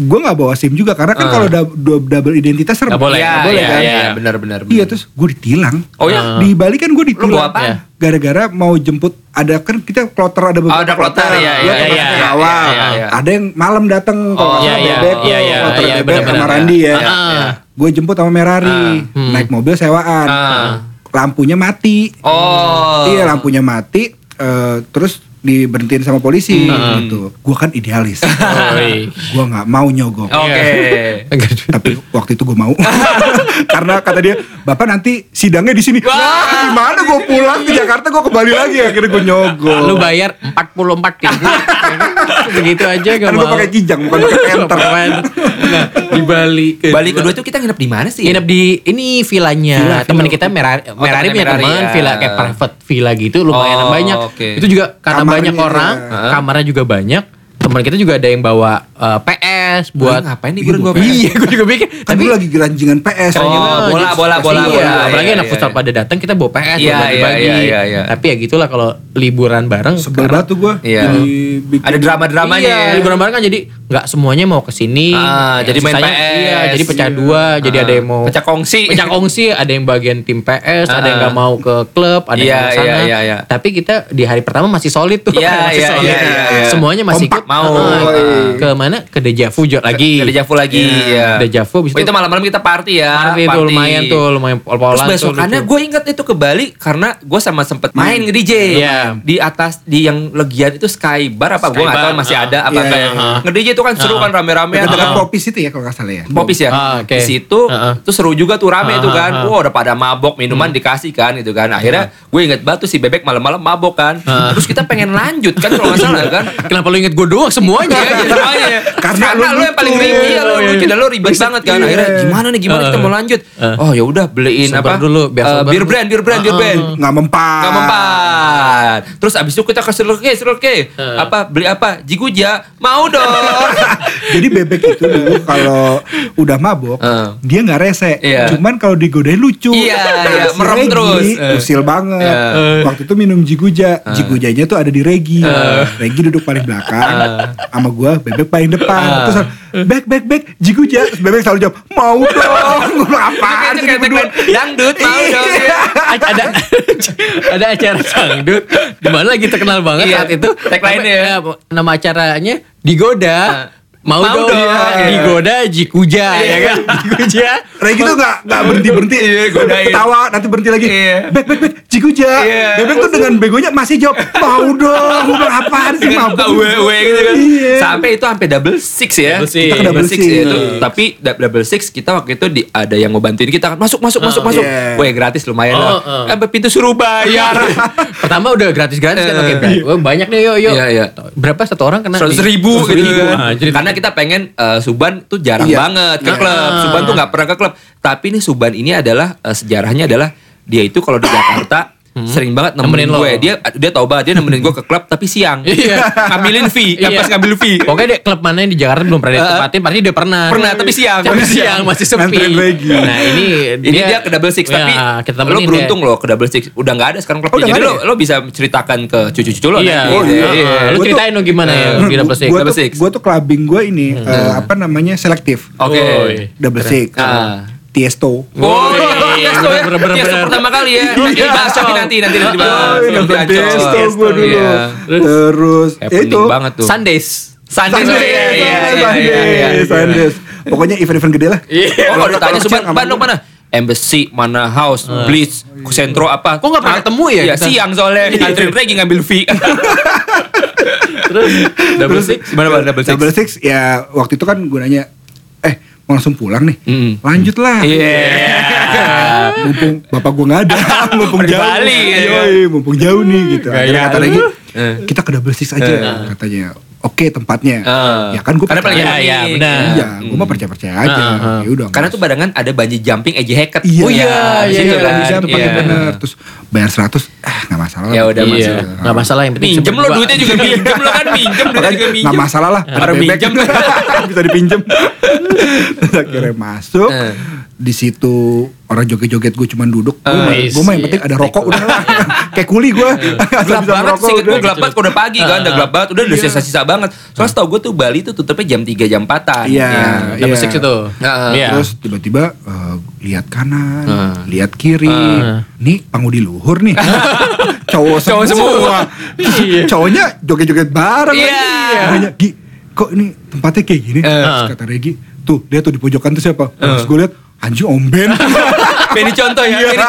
[SPEAKER 3] gue nggak bawa sim juga karena kan kalau dub- dub- double identitas
[SPEAKER 1] Ah.
[SPEAKER 3] serem
[SPEAKER 1] Nggak boleh,
[SPEAKER 2] Iya,
[SPEAKER 1] nggak
[SPEAKER 2] iya,
[SPEAKER 1] kan?
[SPEAKER 2] Iya, benar benar.
[SPEAKER 3] iya
[SPEAKER 2] benar.
[SPEAKER 3] terus gue ditilang
[SPEAKER 2] Oh ya?
[SPEAKER 1] iya?
[SPEAKER 3] di Bali kan
[SPEAKER 2] Lu
[SPEAKER 3] gue
[SPEAKER 2] bawa
[SPEAKER 3] ditilang
[SPEAKER 2] apaan?
[SPEAKER 3] gara-gara mau jemput ada kan kita kloter ada
[SPEAKER 2] Oh,
[SPEAKER 3] beberapa
[SPEAKER 2] ada kloter, iya,
[SPEAKER 3] Gua
[SPEAKER 1] iya,
[SPEAKER 3] ke
[SPEAKER 1] iya,
[SPEAKER 3] pasar
[SPEAKER 1] iya,
[SPEAKER 3] awal
[SPEAKER 2] iya, iya.
[SPEAKER 3] ada yang malam datang kalau
[SPEAKER 2] Oh,
[SPEAKER 3] nggak
[SPEAKER 1] iya,
[SPEAKER 3] salah
[SPEAKER 1] iya,
[SPEAKER 3] bebek tuh,
[SPEAKER 1] iya, iya,
[SPEAKER 3] kloter
[SPEAKER 1] iya,
[SPEAKER 3] bebek
[SPEAKER 1] benar-benar,
[SPEAKER 3] sama
[SPEAKER 1] iya.
[SPEAKER 3] Randi ya
[SPEAKER 1] Ah, ah.
[SPEAKER 3] gue jemput sama Merari
[SPEAKER 2] Ah,
[SPEAKER 1] hmm.
[SPEAKER 3] naik mobil sewaan
[SPEAKER 2] Ah.
[SPEAKER 3] lampunya mati
[SPEAKER 2] Oh.
[SPEAKER 3] Iya lampunya mati eh, terus diberhentiin sama polisi
[SPEAKER 2] Hmm.
[SPEAKER 3] gitu. Gua kan idealis.
[SPEAKER 1] Oi.
[SPEAKER 3] gua nggak mau nyogok.
[SPEAKER 2] Oke.
[SPEAKER 3] Tapi waktu itu gue mau karena kata dia bapak nanti sidangnya di sini. Nah, Gimana gue pulang ke Jakarta gue kembali lagi akhirnya gue nyogok.
[SPEAKER 1] lu bayar 44 ribu begitu gitu. aja gak
[SPEAKER 3] Kan gua
[SPEAKER 1] mau
[SPEAKER 3] pakai kijang, bukan pakai enter.
[SPEAKER 1] nah di Bali
[SPEAKER 2] Bali kedua itu kita nginep di mana sih? ya?
[SPEAKER 1] nginep di ini
[SPEAKER 3] Villa,
[SPEAKER 1] villanya teman
[SPEAKER 3] villa.
[SPEAKER 1] kita merari, merari
[SPEAKER 2] temennya
[SPEAKER 1] punya
[SPEAKER 2] Merari,
[SPEAKER 1] teman
[SPEAKER 2] ya.
[SPEAKER 1] villa kayak private villa gitu lumayan
[SPEAKER 2] Oh,
[SPEAKER 1] banyak
[SPEAKER 2] oke.
[SPEAKER 1] itu juga karena
[SPEAKER 3] Kamarnya
[SPEAKER 1] banyak
[SPEAKER 3] ya.
[SPEAKER 1] orang
[SPEAKER 2] Heeh.
[SPEAKER 1] kamarnya juga banyak teman kita juga ada yang bawa eh, PS buat
[SPEAKER 2] Lah, ngapain nih gua bawa PS?
[SPEAKER 1] iya gue juga mikir
[SPEAKER 3] Kan
[SPEAKER 1] tapi
[SPEAKER 3] lu lagi gelanjingan gitu. PS.
[SPEAKER 1] Iya,
[SPEAKER 2] Oh, bola,
[SPEAKER 1] jadi-
[SPEAKER 2] bola, bola,
[SPEAKER 1] iya,
[SPEAKER 2] bola.
[SPEAKER 1] apalagi
[SPEAKER 2] Iya,
[SPEAKER 1] anak
[SPEAKER 2] iya,
[SPEAKER 1] futsal
[SPEAKER 2] iya.
[SPEAKER 1] pada datang kita bawa PS
[SPEAKER 2] Iya,
[SPEAKER 1] buat bagi-bagi
[SPEAKER 2] iya, iya, iya.
[SPEAKER 1] tapi ya gitulah kalau liburan bareng
[SPEAKER 3] Sebel banget tuh gue.
[SPEAKER 2] Iya. Ada drama-dramanya.
[SPEAKER 1] Iya, liburan bareng kan jadi nggak semuanya mau ke sini.
[SPEAKER 2] Ah,
[SPEAKER 1] Ya,
[SPEAKER 2] jadi main
[SPEAKER 1] sisanya-
[SPEAKER 2] PS.
[SPEAKER 1] Iya, jadi pecah
[SPEAKER 2] Iya.
[SPEAKER 1] dua, jadi
[SPEAKER 2] Ah.
[SPEAKER 1] ada yang mau
[SPEAKER 2] Pecah kongsi.
[SPEAKER 1] Pecah kongsi, ada yang bagian tim PS, ada yang
[SPEAKER 2] Ah.
[SPEAKER 1] nggak mau ke klub, ada
[SPEAKER 2] Iya,
[SPEAKER 1] yang ke sana.
[SPEAKER 2] iya, iya, iya.
[SPEAKER 1] Tapi kita di hari pertama masih solid tuh.
[SPEAKER 2] Iya,
[SPEAKER 1] masih
[SPEAKER 2] iya,
[SPEAKER 1] solid.
[SPEAKER 2] iya, iya, iya.
[SPEAKER 1] Semuanya masih
[SPEAKER 2] Kompak
[SPEAKER 1] ikut.
[SPEAKER 2] mau. Oh, iya.
[SPEAKER 1] Ah,
[SPEAKER 2] Yoi.
[SPEAKER 1] ke mana? Ke Dejavu jo- lagi.
[SPEAKER 2] Dari Javu lagi. Iya.
[SPEAKER 1] Dejavu abis
[SPEAKER 2] Oh, itu malam-malam kita party ya.
[SPEAKER 1] Party tuh lumayan tuh, lumayan pol-polan
[SPEAKER 2] Terus
[SPEAKER 1] tuh gitu.
[SPEAKER 2] besokannya
[SPEAKER 1] lucu.
[SPEAKER 2] gue inget itu ke Bali karena gue sama sempet main ke DJ
[SPEAKER 1] Iya.
[SPEAKER 2] di atas di yang legian itu Sky Bar apa gue
[SPEAKER 1] Sky
[SPEAKER 2] nggak tahu
[SPEAKER 1] Bar,
[SPEAKER 2] masih
[SPEAKER 1] ah.
[SPEAKER 2] ada apa
[SPEAKER 3] Iya,
[SPEAKER 2] kayak
[SPEAKER 3] iya,
[SPEAKER 2] nge DJ itu kan seru kan rame-rame
[SPEAKER 3] Dekat dekat popis itu ya kalau nggak salah ya.
[SPEAKER 2] Popis ya.
[SPEAKER 1] Ah, oke.
[SPEAKER 2] Di situ
[SPEAKER 1] Ah, ah.
[SPEAKER 2] tuh seru juga tuh rame
[SPEAKER 1] Ah,
[SPEAKER 2] tuh kan.
[SPEAKER 1] ah, ah.
[SPEAKER 2] Wah, udah pada mabok, minuman
[SPEAKER 1] Hmm.
[SPEAKER 2] dikasih kan gitu kan. Akhirnya gue inget banget tuh si Bebek malam-malam mabok kan.
[SPEAKER 1] Ah.
[SPEAKER 2] Terus kita pengen lanjut kan kalau nggak salah kan.
[SPEAKER 1] Kenapa lu inget gue doang
[SPEAKER 2] Iya,
[SPEAKER 1] semuanya?
[SPEAKER 2] iya, semuanya.
[SPEAKER 3] Karena
[SPEAKER 2] Karena,
[SPEAKER 3] lu
[SPEAKER 2] lu yang paling
[SPEAKER 3] lucu.
[SPEAKER 2] ribet, iya, lu
[SPEAKER 1] Iya,
[SPEAKER 2] lucu
[SPEAKER 1] iya.
[SPEAKER 2] dan lu ribet banget kan. Akhirnya
[SPEAKER 3] Iya.
[SPEAKER 2] gimana nih, gimana kita mau lanjut? Oh ya udah beliin
[SPEAKER 1] Sabar
[SPEAKER 2] apa?
[SPEAKER 1] dulu, biar
[SPEAKER 2] Eh,
[SPEAKER 1] sabar
[SPEAKER 2] beer
[SPEAKER 1] dulu.
[SPEAKER 2] brand, beer brand,
[SPEAKER 1] Ah,
[SPEAKER 2] beer
[SPEAKER 1] ah,
[SPEAKER 2] brand.
[SPEAKER 3] Eh, Nggak mempan.
[SPEAKER 2] Nggak mempan. Terus abis itu kita ke Seruke, Seruke. Apa, beli apa? Jiguja. Mau dong.
[SPEAKER 3] Jadi bebek itu dulu kalau udah mabok
[SPEAKER 2] Heeh.
[SPEAKER 3] dia nggak rese.
[SPEAKER 2] Ah. Iya.
[SPEAKER 3] Cuman kalau digodain lucu.
[SPEAKER 2] Iya, iya,
[SPEAKER 3] Si
[SPEAKER 2] merem
[SPEAKER 3] Regi
[SPEAKER 2] terus. Eh.
[SPEAKER 3] Usil banget.
[SPEAKER 2] Iya. Ah.
[SPEAKER 3] Waktu itu minum jiguja. Jigujanya tuh ada di Regi. Regi duduk paling belakang.
[SPEAKER 2] Ah.
[SPEAKER 3] Sama gua bebek paling depan. Terus bek bek bek jiguja. Terus bebek selalu jawab mau dong. Gua bilang, apaan
[SPEAKER 2] Itu
[SPEAKER 3] sih ini
[SPEAKER 2] kayak
[SPEAKER 3] berdua?
[SPEAKER 2] tagline, Dangdut, mau dong.
[SPEAKER 3] Iya.
[SPEAKER 1] A- ada ada acara dangdut di mana lagi terkenal banget
[SPEAKER 2] Iya,
[SPEAKER 1] saat itu
[SPEAKER 2] tagline-nya. Ah.
[SPEAKER 1] nama, eh, nama acaranya digoda mau,
[SPEAKER 2] Mau
[SPEAKER 1] dong,
[SPEAKER 2] dong.
[SPEAKER 1] Iya. digoda jikuja ya kan jikuja
[SPEAKER 3] Regi tuh gak, gitu nggak berhenti-berhenti
[SPEAKER 2] Iya, godain.
[SPEAKER 3] Ketawa Nanti berhenti lagi
[SPEAKER 2] Iya.
[SPEAKER 3] Bek bek bek Jiguja
[SPEAKER 2] Iya.
[SPEAKER 3] Bebek tuh dengan begonya Masih jawab Mau dong Gue bilang apaan Kan sih
[SPEAKER 2] Dengan muka
[SPEAKER 3] mabuk
[SPEAKER 2] wewe gitu kan.
[SPEAKER 3] Iya.
[SPEAKER 2] Sampai itu sampai double six ya.
[SPEAKER 1] Double six. Hmm.
[SPEAKER 2] Kita ke double six,
[SPEAKER 3] Double
[SPEAKER 2] ya
[SPEAKER 3] six.
[SPEAKER 2] itu. Tapi da- double six kita waktu itu di, ada yang mau bantuin kita kan masuk masuk masuk masuk.
[SPEAKER 3] Iya.
[SPEAKER 2] Weh gratis lumayan
[SPEAKER 1] Hmm. Oh,
[SPEAKER 2] lah.
[SPEAKER 1] oh. Iya.
[SPEAKER 2] Sampai pintu suruh bayar.
[SPEAKER 1] pertama udah gratis gratis kan
[SPEAKER 2] Eh,
[SPEAKER 1] oke Bray. Wah, banyak nih yuk yuk
[SPEAKER 2] Iya, iya.
[SPEAKER 1] berapa satu orang kena
[SPEAKER 2] Seratus
[SPEAKER 1] di-
[SPEAKER 2] ribu,
[SPEAKER 1] seratus
[SPEAKER 2] gitu kan.
[SPEAKER 1] Ah, jadi-
[SPEAKER 2] Karena kita pengen eh, Suban tuh jarang
[SPEAKER 3] Iya.
[SPEAKER 2] banget ke
[SPEAKER 1] Iya.
[SPEAKER 2] klub. Suban tuh nggak pernah ke klub. Tapi ini Suban ini adalah eh, sejarahnya adalah dia itu kalau di Jakarta sering banget
[SPEAKER 1] Hmm. Nemenin
[SPEAKER 2] nemenin,
[SPEAKER 1] lo.
[SPEAKER 2] gue. Dia dia tau banget dia nemenin gue ke klub tapi siang.
[SPEAKER 1] Iya.
[SPEAKER 2] ngambilin fee, yang
[SPEAKER 1] Iya.
[SPEAKER 2] pas ngambil fee.
[SPEAKER 1] Pokoknya dia klub mana yang di Jakarta belum pernah ditempatin, pasti dia pernah.
[SPEAKER 2] Ah, Pernah, tapi siang.
[SPEAKER 1] Tapi
[SPEAKER 2] Tapi
[SPEAKER 1] siang
[SPEAKER 2] siang.
[SPEAKER 1] masih sepi.
[SPEAKER 3] Nganterin lagi.
[SPEAKER 1] Nah, ini
[SPEAKER 2] Ini dia, ke double six tapi
[SPEAKER 1] Ya, kita
[SPEAKER 2] lo
[SPEAKER 1] temenin
[SPEAKER 2] beruntung
[SPEAKER 1] dia.
[SPEAKER 2] loh ke double six. Udah nggak ada sekarang klubnya.
[SPEAKER 3] Oh, udah
[SPEAKER 2] Jadi
[SPEAKER 3] nggak
[SPEAKER 2] lo lo bisa ceritakan ke cucu-cucu lo
[SPEAKER 1] Iya,
[SPEAKER 2] nanti.
[SPEAKER 3] Oh,
[SPEAKER 2] gitu ya.
[SPEAKER 3] iya.
[SPEAKER 2] Iya.
[SPEAKER 1] Lu
[SPEAKER 3] Gua tuh-
[SPEAKER 1] ceritain dong gimana ya di double six.
[SPEAKER 3] Gue
[SPEAKER 2] Double
[SPEAKER 3] tuh,
[SPEAKER 2] six.
[SPEAKER 3] gua tuh clubbing gue ini eh, Apa namanya Selektif
[SPEAKER 2] Oke.
[SPEAKER 1] Woi.
[SPEAKER 3] Double six
[SPEAKER 2] Ah. Oh,
[SPEAKER 3] Tiesto
[SPEAKER 1] Woi,
[SPEAKER 2] iya, Tiesto ya.
[SPEAKER 1] bener, bener,
[SPEAKER 2] Tiesto
[SPEAKER 1] bener.
[SPEAKER 2] pertama kali ya. Nanti
[SPEAKER 1] Iya.
[SPEAKER 2] dibahas tapi nanti nanti nanti dibahas.
[SPEAKER 1] Iya,
[SPEAKER 2] Nanti
[SPEAKER 3] Double
[SPEAKER 2] dibahas.
[SPEAKER 3] Tiesto gue dulu
[SPEAKER 2] Iya.
[SPEAKER 3] Terus ya
[SPEAKER 2] Happening
[SPEAKER 3] Itu
[SPEAKER 2] banget tuh.
[SPEAKER 1] Sundays.
[SPEAKER 2] Sunday, iya,
[SPEAKER 3] Sundays,
[SPEAKER 2] iya, iya, iya, iya.
[SPEAKER 3] Sundays, Sundays. Pokoknya event-event gede lah
[SPEAKER 1] Iya.
[SPEAKER 2] Oh, kalau ditanya
[SPEAKER 3] Kalau
[SPEAKER 2] Suban,
[SPEAKER 3] kecil,
[SPEAKER 2] Ban, lo mana? Embassy, mana house, Blitz, Sentro
[SPEAKER 1] Iya.
[SPEAKER 2] apa?
[SPEAKER 1] Kok nggak pernah ketemu ya
[SPEAKER 2] Iya,
[SPEAKER 1] kita?
[SPEAKER 2] siang soalnya ngantri lagi ngambil fee.
[SPEAKER 1] Terus double six.
[SPEAKER 2] Gimana Ban, double six?
[SPEAKER 3] Iya, Double Six ya waktu itu kan gue nanya, eh mau langsung pulang nih,
[SPEAKER 2] Mm.
[SPEAKER 3] lanjut lah.
[SPEAKER 2] Iya.
[SPEAKER 3] mumpung bapak gue nggak ada, mumpung jauh,
[SPEAKER 2] Bali, ya.
[SPEAKER 3] Yoi, mumpung jauh nih gitu.
[SPEAKER 1] Gaya
[SPEAKER 3] Akhirnya kata
[SPEAKER 1] lu.
[SPEAKER 3] lagi,
[SPEAKER 2] Eh.
[SPEAKER 3] kita ke Double Six aja katanya. Oke tempatnya,
[SPEAKER 2] Eh.
[SPEAKER 3] ya kan gue
[SPEAKER 2] Karena paling
[SPEAKER 1] Iya,
[SPEAKER 2] enak.
[SPEAKER 1] iya, benar.
[SPEAKER 3] Iya, gue mah percaya percaya aja.
[SPEAKER 1] Ah, ah.
[SPEAKER 3] Ya udah.
[SPEAKER 2] Eh, Karena tuh barengan ada banji jumping Eji Hackett.
[SPEAKER 3] Iya,
[SPEAKER 1] Oh iya,
[SPEAKER 2] di
[SPEAKER 1] iya,
[SPEAKER 2] situ
[SPEAKER 1] iya,
[SPEAKER 2] kan.
[SPEAKER 1] di situ
[SPEAKER 2] Iya.
[SPEAKER 3] pakai bener. Terus bayar 100, ah nggak masalah. lah.
[SPEAKER 2] Ya udah,
[SPEAKER 3] Gitu.
[SPEAKER 1] Iya, enggak masalah yang penting
[SPEAKER 2] Minjem lo
[SPEAKER 1] berdua.
[SPEAKER 2] duitnya juga minjem lo kan minjem duitnya juga
[SPEAKER 3] Makanya
[SPEAKER 2] minjem.
[SPEAKER 3] nggak Nah, masalah lah.
[SPEAKER 2] Ada
[SPEAKER 3] ada bebek.
[SPEAKER 2] minjem.
[SPEAKER 3] Bisa dipinjem. Terus akhirnya masuk.
[SPEAKER 2] Eh.
[SPEAKER 3] Di situ orang joget-joget gue cuman duduk. Gue
[SPEAKER 2] Eh,
[SPEAKER 3] mah, gue mah yang
[SPEAKER 1] iya.
[SPEAKER 3] penting ada rokok udah lah. Kayak kuli gue. Asal
[SPEAKER 2] Gelap
[SPEAKER 3] bisa
[SPEAKER 2] banget
[SPEAKER 3] merokok
[SPEAKER 2] sih, gue
[SPEAKER 3] udah.
[SPEAKER 2] gelap banget kalau udah pagi kan, udah gelap banget, udah ada sisa-sisa banget. Soalnya setau gue tuh Bali tuh tutupnya jam 3 jam 4-an.
[SPEAKER 3] Iya.
[SPEAKER 1] Double
[SPEAKER 3] Iya.
[SPEAKER 1] six itu.
[SPEAKER 2] Nah,
[SPEAKER 1] Iya.
[SPEAKER 3] Terus tiba-tiba eh, lihat kanan, lihat kiri.
[SPEAKER 1] Ah.
[SPEAKER 3] Nih pangudi luhur nih. Cowok
[SPEAKER 2] Cowok
[SPEAKER 3] semua.
[SPEAKER 2] semua.
[SPEAKER 3] Terus
[SPEAKER 1] Iya.
[SPEAKER 3] Cowoknya joget-joget bareng.
[SPEAKER 2] Iya.
[SPEAKER 3] lagi. Gue Nanya, Gi, kok ini tempatnya kayak gini? Terus kata Regi, tuh dia tuh di pojokan tuh siapa? Terus gue lihat, anjing omben.
[SPEAKER 2] Benny contoh ya. Benny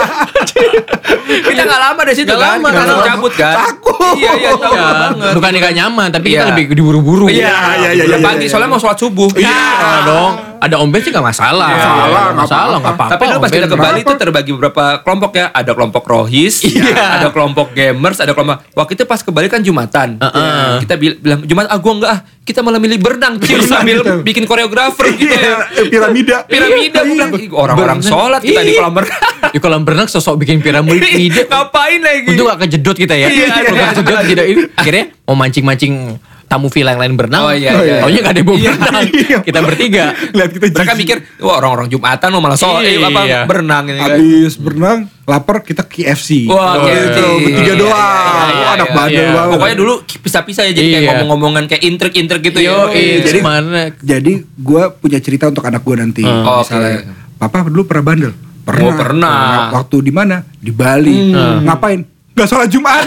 [SPEAKER 2] contoh. kita gak lama dari situ
[SPEAKER 1] Nggak
[SPEAKER 2] kan,
[SPEAKER 1] lama,
[SPEAKER 2] kita
[SPEAKER 1] nggak
[SPEAKER 2] langsung
[SPEAKER 1] lama.
[SPEAKER 2] cabut kan.
[SPEAKER 3] Takut.
[SPEAKER 2] Iya, iya, tahu
[SPEAKER 1] Iya,
[SPEAKER 2] banget.
[SPEAKER 1] Bukan nggak nyaman, tapi
[SPEAKER 2] Iya.
[SPEAKER 1] kita lebih diburu-buru.
[SPEAKER 2] Iya, iya, iya. Udah
[SPEAKER 3] iya,
[SPEAKER 2] pagi,
[SPEAKER 3] iya.
[SPEAKER 2] soalnya mau sholat subuh.
[SPEAKER 1] Iya dong. Ada ombel sih nggak masalah.
[SPEAKER 3] Iya, Nggak masalah,
[SPEAKER 1] Nggak
[SPEAKER 3] nggak
[SPEAKER 1] masalah, nggak
[SPEAKER 3] apa-apa.
[SPEAKER 1] apa-apa.
[SPEAKER 2] Tapi dulu pas
[SPEAKER 1] ombel.
[SPEAKER 2] kita ke Bali itu terbagi beberapa kelompok ya. Ada kelompok rohis, ada kelompok gamers, ada kelompok... Waktu itu pas ke Bali kan Jumatan.
[SPEAKER 1] Heeh.
[SPEAKER 2] Kita bil- bilang, Jumat, ah gua enggak ah. Kita malah milih berenang. Kita sambil
[SPEAKER 3] gitu.
[SPEAKER 2] bikin koreografer gitu
[SPEAKER 3] Iya,
[SPEAKER 2] ya.
[SPEAKER 3] piramida. Iya.
[SPEAKER 2] Piramida, gua bilang, "Ih, orang-orang
[SPEAKER 1] Berenang.
[SPEAKER 2] sholat kita di
[SPEAKER 1] Iya.
[SPEAKER 2] kolam berenang.
[SPEAKER 1] Di kolam berenang sosok bikin piramida.
[SPEAKER 2] Ngapain lagi?
[SPEAKER 1] Untung gak kejedot kita ya.
[SPEAKER 2] Iya,
[SPEAKER 1] Kalau
[SPEAKER 2] iya.
[SPEAKER 1] kejedot tidak ini. Akhirnya mau mancing-mancing tamu villa yang lain berenang.
[SPEAKER 2] Oh, iya,
[SPEAKER 3] iya.
[SPEAKER 1] Taunya gak ada yang bawa
[SPEAKER 2] Iya.
[SPEAKER 1] berenang.
[SPEAKER 3] Iya.
[SPEAKER 1] Kita bertiga.
[SPEAKER 3] Lihat kita
[SPEAKER 2] Mereka
[SPEAKER 3] jijik.
[SPEAKER 2] mikir, wah orang-orang Jumatan lo malah sholat, eh, apa,
[SPEAKER 1] Iya.
[SPEAKER 2] berenang. Ini, kan.
[SPEAKER 3] Habis berenang, lapar kita KFC.
[SPEAKER 2] Wah,
[SPEAKER 1] Oke,
[SPEAKER 2] gitu.
[SPEAKER 1] oke.
[SPEAKER 3] bertiga
[SPEAKER 2] Iya,
[SPEAKER 3] doang.
[SPEAKER 2] iya, iya,
[SPEAKER 3] Anak
[SPEAKER 2] iya,
[SPEAKER 3] bandel
[SPEAKER 2] iya.
[SPEAKER 3] banget.
[SPEAKER 2] Pokoknya dulu pisah-pisah ya jadi kayak
[SPEAKER 1] Iya.
[SPEAKER 2] ngomong-ngomongan kayak intrik-intrik gitu ya.
[SPEAKER 1] Yo,
[SPEAKER 3] Iya, Jadi-
[SPEAKER 1] jadi mana?
[SPEAKER 3] Jadi gue punya cerita untuk anak gue nanti.
[SPEAKER 2] Hmm.
[SPEAKER 3] Misalnya,
[SPEAKER 2] Oke.
[SPEAKER 3] papa dulu pernah bandel. Pernah.
[SPEAKER 2] Oh, pernah.
[SPEAKER 3] Waktu di mana? Di
[SPEAKER 2] Hmm.
[SPEAKER 3] Bali. "Nah, Ngapain? Gak sholat Jumat.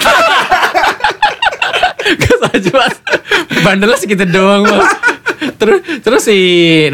[SPEAKER 1] Gak salah jelas. Bandelnya segitu gitu doang Bang. Terus terus si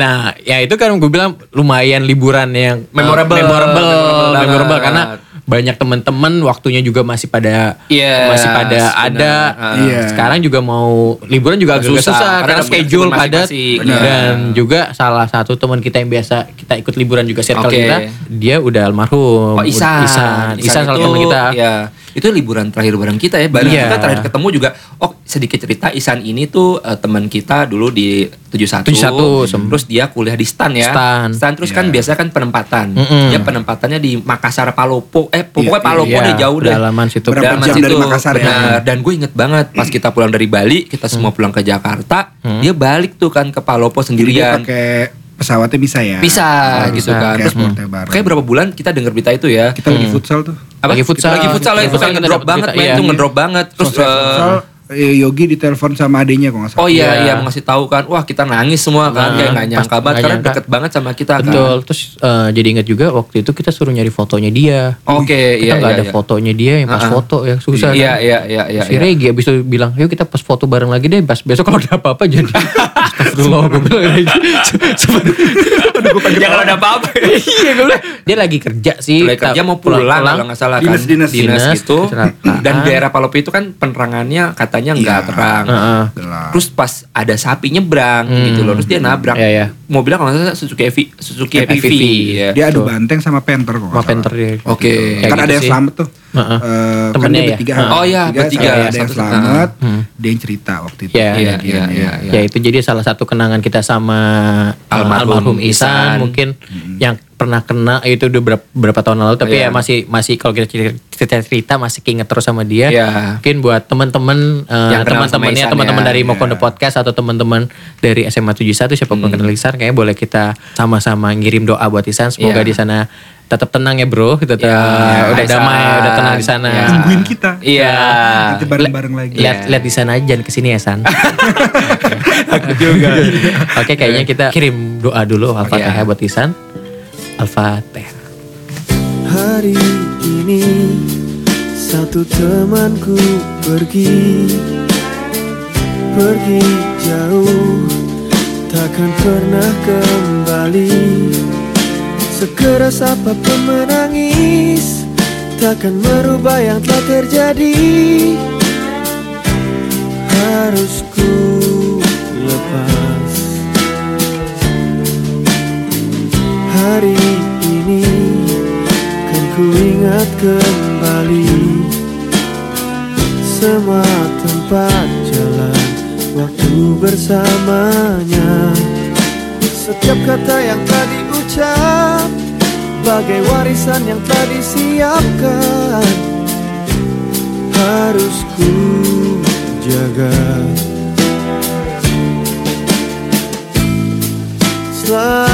[SPEAKER 1] nah ya itu kan gue bilang lumayan liburan yang eh,
[SPEAKER 2] Memorable.
[SPEAKER 1] memorable,
[SPEAKER 2] Memorable
[SPEAKER 1] memorable,
[SPEAKER 2] banget.
[SPEAKER 1] karena banyak teman-teman waktunya juga masih pada
[SPEAKER 2] Yes,
[SPEAKER 1] masih pada
[SPEAKER 2] benar.
[SPEAKER 1] ada
[SPEAKER 2] Ah.
[SPEAKER 3] Iya.
[SPEAKER 1] sekarang juga mau liburan juga agak
[SPEAKER 2] Susah,
[SPEAKER 1] susah,
[SPEAKER 2] karena
[SPEAKER 1] karena
[SPEAKER 2] ada
[SPEAKER 1] schedule
[SPEAKER 2] komitmen
[SPEAKER 1] padat
[SPEAKER 2] masing-masing. Benar.
[SPEAKER 1] dan juga salah satu teman kita yang biasa kita ikut liburan juga circle
[SPEAKER 2] Oke.
[SPEAKER 1] kita dia udah almarhum
[SPEAKER 2] Oh Isan.
[SPEAKER 1] Isan, Isan salah
[SPEAKER 2] itu,
[SPEAKER 1] teman kita
[SPEAKER 2] Iya. Itu liburan terakhir bareng kita ya. Bareng
[SPEAKER 1] Iya.
[SPEAKER 2] kita terakhir ketemu juga. Oh sedikit cerita Isan ini tuh eh, teman kita dulu di 71.
[SPEAKER 1] 71, sem-
[SPEAKER 2] Terus dia kuliah di STAN ya.
[SPEAKER 1] Stan.
[SPEAKER 2] terus kan
[SPEAKER 3] Iya.
[SPEAKER 2] biasanya kan penempatan.
[SPEAKER 1] Mm-mm.
[SPEAKER 2] Dia penempatannya di Makassar Palopo. Eh pokoknya
[SPEAKER 3] Iya,
[SPEAKER 2] Palopo
[SPEAKER 1] Iya,
[SPEAKER 2] deh jauh deh.
[SPEAKER 1] pedalaman situ
[SPEAKER 3] Berapa
[SPEAKER 2] Pedalaman
[SPEAKER 3] jam dari
[SPEAKER 2] situ,
[SPEAKER 3] Makassar ya?
[SPEAKER 2] benar. Dan gue inget banget pas kita pulang dari Bali, kita
[SPEAKER 1] Mm.
[SPEAKER 2] semua pulang ke Jakarta, dia balik tuh kan ke Palopo
[SPEAKER 3] Jadi dia
[SPEAKER 2] sendirian.
[SPEAKER 3] pakai pesawatnya bisa ya?
[SPEAKER 2] Bisa
[SPEAKER 3] Oh,
[SPEAKER 2] gitu
[SPEAKER 3] bisa.
[SPEAKER 2] kan.
[SPEAKER 3] Kayak
[SPEAKER 2] Terus
[SPEAKER 3] sportnya bareng.
[SPEAKER 2] kayak berapa bulan kita dengar berita itu ya
[SPEAKER 3] Kita lagi futsal tuh.
[SPEAKER 2] apa?
[SPEAKER 1] Lagi futsal.
[SPEAKER 2] lagi futsal lagi
[SPEAKER 1] Lagi
[SPEAKER 2] futsal
[SPEAKER 1] futsal
[SPEAKER 2] ngedrop
[SPEAKER 1] kita dapat
[SPEAKER 2] banget
[SPEAKER 1] berita,
[SPEAKER 2] men
[SPEAKER 1] iya.
[SPEAKER 2] itu ngedrop banget terus
[SPEAKER 3] Selesai
[SPEAKER 2] eh,
[SPEAKER 3] futsal, eh, Yogi ditelepon sama adiknya kok nggak salah.
[SPEAKER 2] oh iya
[SPEAKER 1] Iya.
[SPEAKER 2] iya mau ngasih tahu kan wah kita nangis semua kan
[SPEAKER 1] Nah,
[SPEAKER 2] kayak nggak nyangka
[SPEAKER 1] pas-
[SPEAKER 2] banget
[SPEAKER 1] nggak
[SPEAKER 2] karena
[SPEAKER 1] nyangka.
[SPEAKER 2] deket banget sama kita kan
[SPEAKER 1] betul terus eh, jadi ingat juga waktu itu kita suruh nyari fotonya dia
[SPEAKER 2] oke
[SPEAKER 1] kita
[SPEAKER 2] iya
[SPEAKER 1] nggak
[SPEAKER 2] iya
[SPEAKER 1] ada
[SPEAKER 2] iya.
[SPEAKER 1] fotonya dia yang pas
[SPEAKER 2] Ah, ah.
[SPEAKER 1] foto ya susah kan?
[SPEAKER 2] iya iya iya iya
[SPEAKER 1] si
[SPEAKER 2] iya.
[SPEAKER 1] Regi abis itu bilang yuk kita pas foto bareng lagi deh pas besok kalau ada apa-apa jadi Astagfirullah gue bilang gitu. Regi Seben-
[SPEAKER 2] ya kalau ada apa-apa
[SPEAKER 1] iya gue bilang dia lagi kerja sih
[SPEAKER 2] Mulai kerja mau pulang, kalau nggak salah kan
[SPEAKER 3] Dinas, dinas.
[SPEAKER 1] Dinas,
[SPEAKER 2] gitu
[SPEAKER 1] kecelakaan.
[SPEAKER 2] dan daerah Palopo itu kan penerangannya katanya nggak
[SPEAKER 3] Iya.
[SPEAKER 2] terang
[SPEAKER 1] Heeh. Hmm.
[SPEAKER 3] Gelap.
[SPEAKER 2] terus pas ada sapi nyebrang gitu loh terus dia nabrak
[SPEAKER 1] Iya, iya.
[SPEAKER 2] mobilnya kalau nggak salah Suzuki FV Suzuki
[SPEAKER 1] FV.
[SPEAKER 2] FV iya.
[SPEAKER 3] dia adu banteng sama Panther kok. nggak
[SPEAKER 1] Sama
[SPEAKER 3] salah.
[SPEAKER 1] Panther dia.
[SPEAKER 2] Oke.
[SPEAKER 3] Kan
[SPEAKER 1] Kayak
[SPEAKER 3] ada
[SPEAKER 1] gitu
[SPEAKER 3] yang
[SPEAKER 1] sih.
[SPEAKER 3] selamat tuh.
[SPEAKER 1] Heeh.
[SPEAKER 3] Eh, kan
[SPEAKER 1] Temennya
[SPEAKER 3] dia
[SPEAKER 1] ya?
[SPEAKER 3] bertiga.
[SPEAKER 1] Heeh.
[SPEAKER 2] Oh, iya, bertiga.
[SPEAKER 3] salah Ada yang
[SPEAKER 2] Satu-
[SPEAKER 3] selamat, dia yang cerita waktu itu.
[SPEAKER 1] Hmm. Iya,
[SPEAKER 2] Iya, iya,
[SPEAKER 3] kejadiannya.
[SPEAKER 2] iya, iya.
[SPEAKER 1] ya itu jadi salah satu kenangan kita sama uh,
[SPEAKER 2] Almarhum
[SPEAKER 1] almarhum, Isan,
[SPEAKER 2] Ihsan.
[SPEAKER 1] mungkin yang pernah kena itu udah berapa, berapa tahun lalu tapi ya
[SPEAKER 2] Iya.
[SPEAKER 1] masih masih kalau kita cerita, cerita cerita masih keinget terus sama dia
[SPEAKER 2] Iya.
[SPEAKER 1] mungkin buat teman-teman uh,
[SPEAKER 2] Yang kenal sama Ihsan
[SPEAKER 1] teman-temannya
[SPEAKER 2] ya.
[SPEAKER 1] teman-teman dari
[SPEAKER 3] Iya.
[SPEAKER 1] Mokondo Podcast atau teman-teman dari SMA 71 siapa
[SPEAKER 2] Hmm.
[SPEAKER 1] pun kenal Ihsan kayaknya boleh kita sama-sama ngirim doa buat Isan semoga
[SPEAKER 2] Iya.
[SPEAKER 1] di sana tetap tenang ya bro tetap eh, udah
[SPEAKER 2] Ihsan.
[SPEAKER 1] damai udah tenang di sana
[SPEAKER 2] Iya.
[SPEAKER 3] Tungguin kita. Nah,
[SPEAKER 2] Iya.
[SPEAKER 1] Ah,
[SPEAKER 3] Nanti bareng-bareng lagi.
[SPEAKER 1] lihat lihat di sana aja jangan kesini ya San Oke kayaknya kita kirim doa dulu Al-Fatihah
[SPEAKER 2] Oke.
[SPEAKER 1] buat Isan Al-Fatihah
[SPEAKER 4] Hari ini satu temanku pergi Pergi jauh takkan pernah kembali Sekeras apapun menangis Takkan merubah yang telah terjadi Harus ku lepas Hari ini Kan ku ingat kembali Semua tempat jalan Waktu bersamanya Setiap kata yang tadi ucap Bagai warisan yang tadi siapkan Harus ku jaga Selalu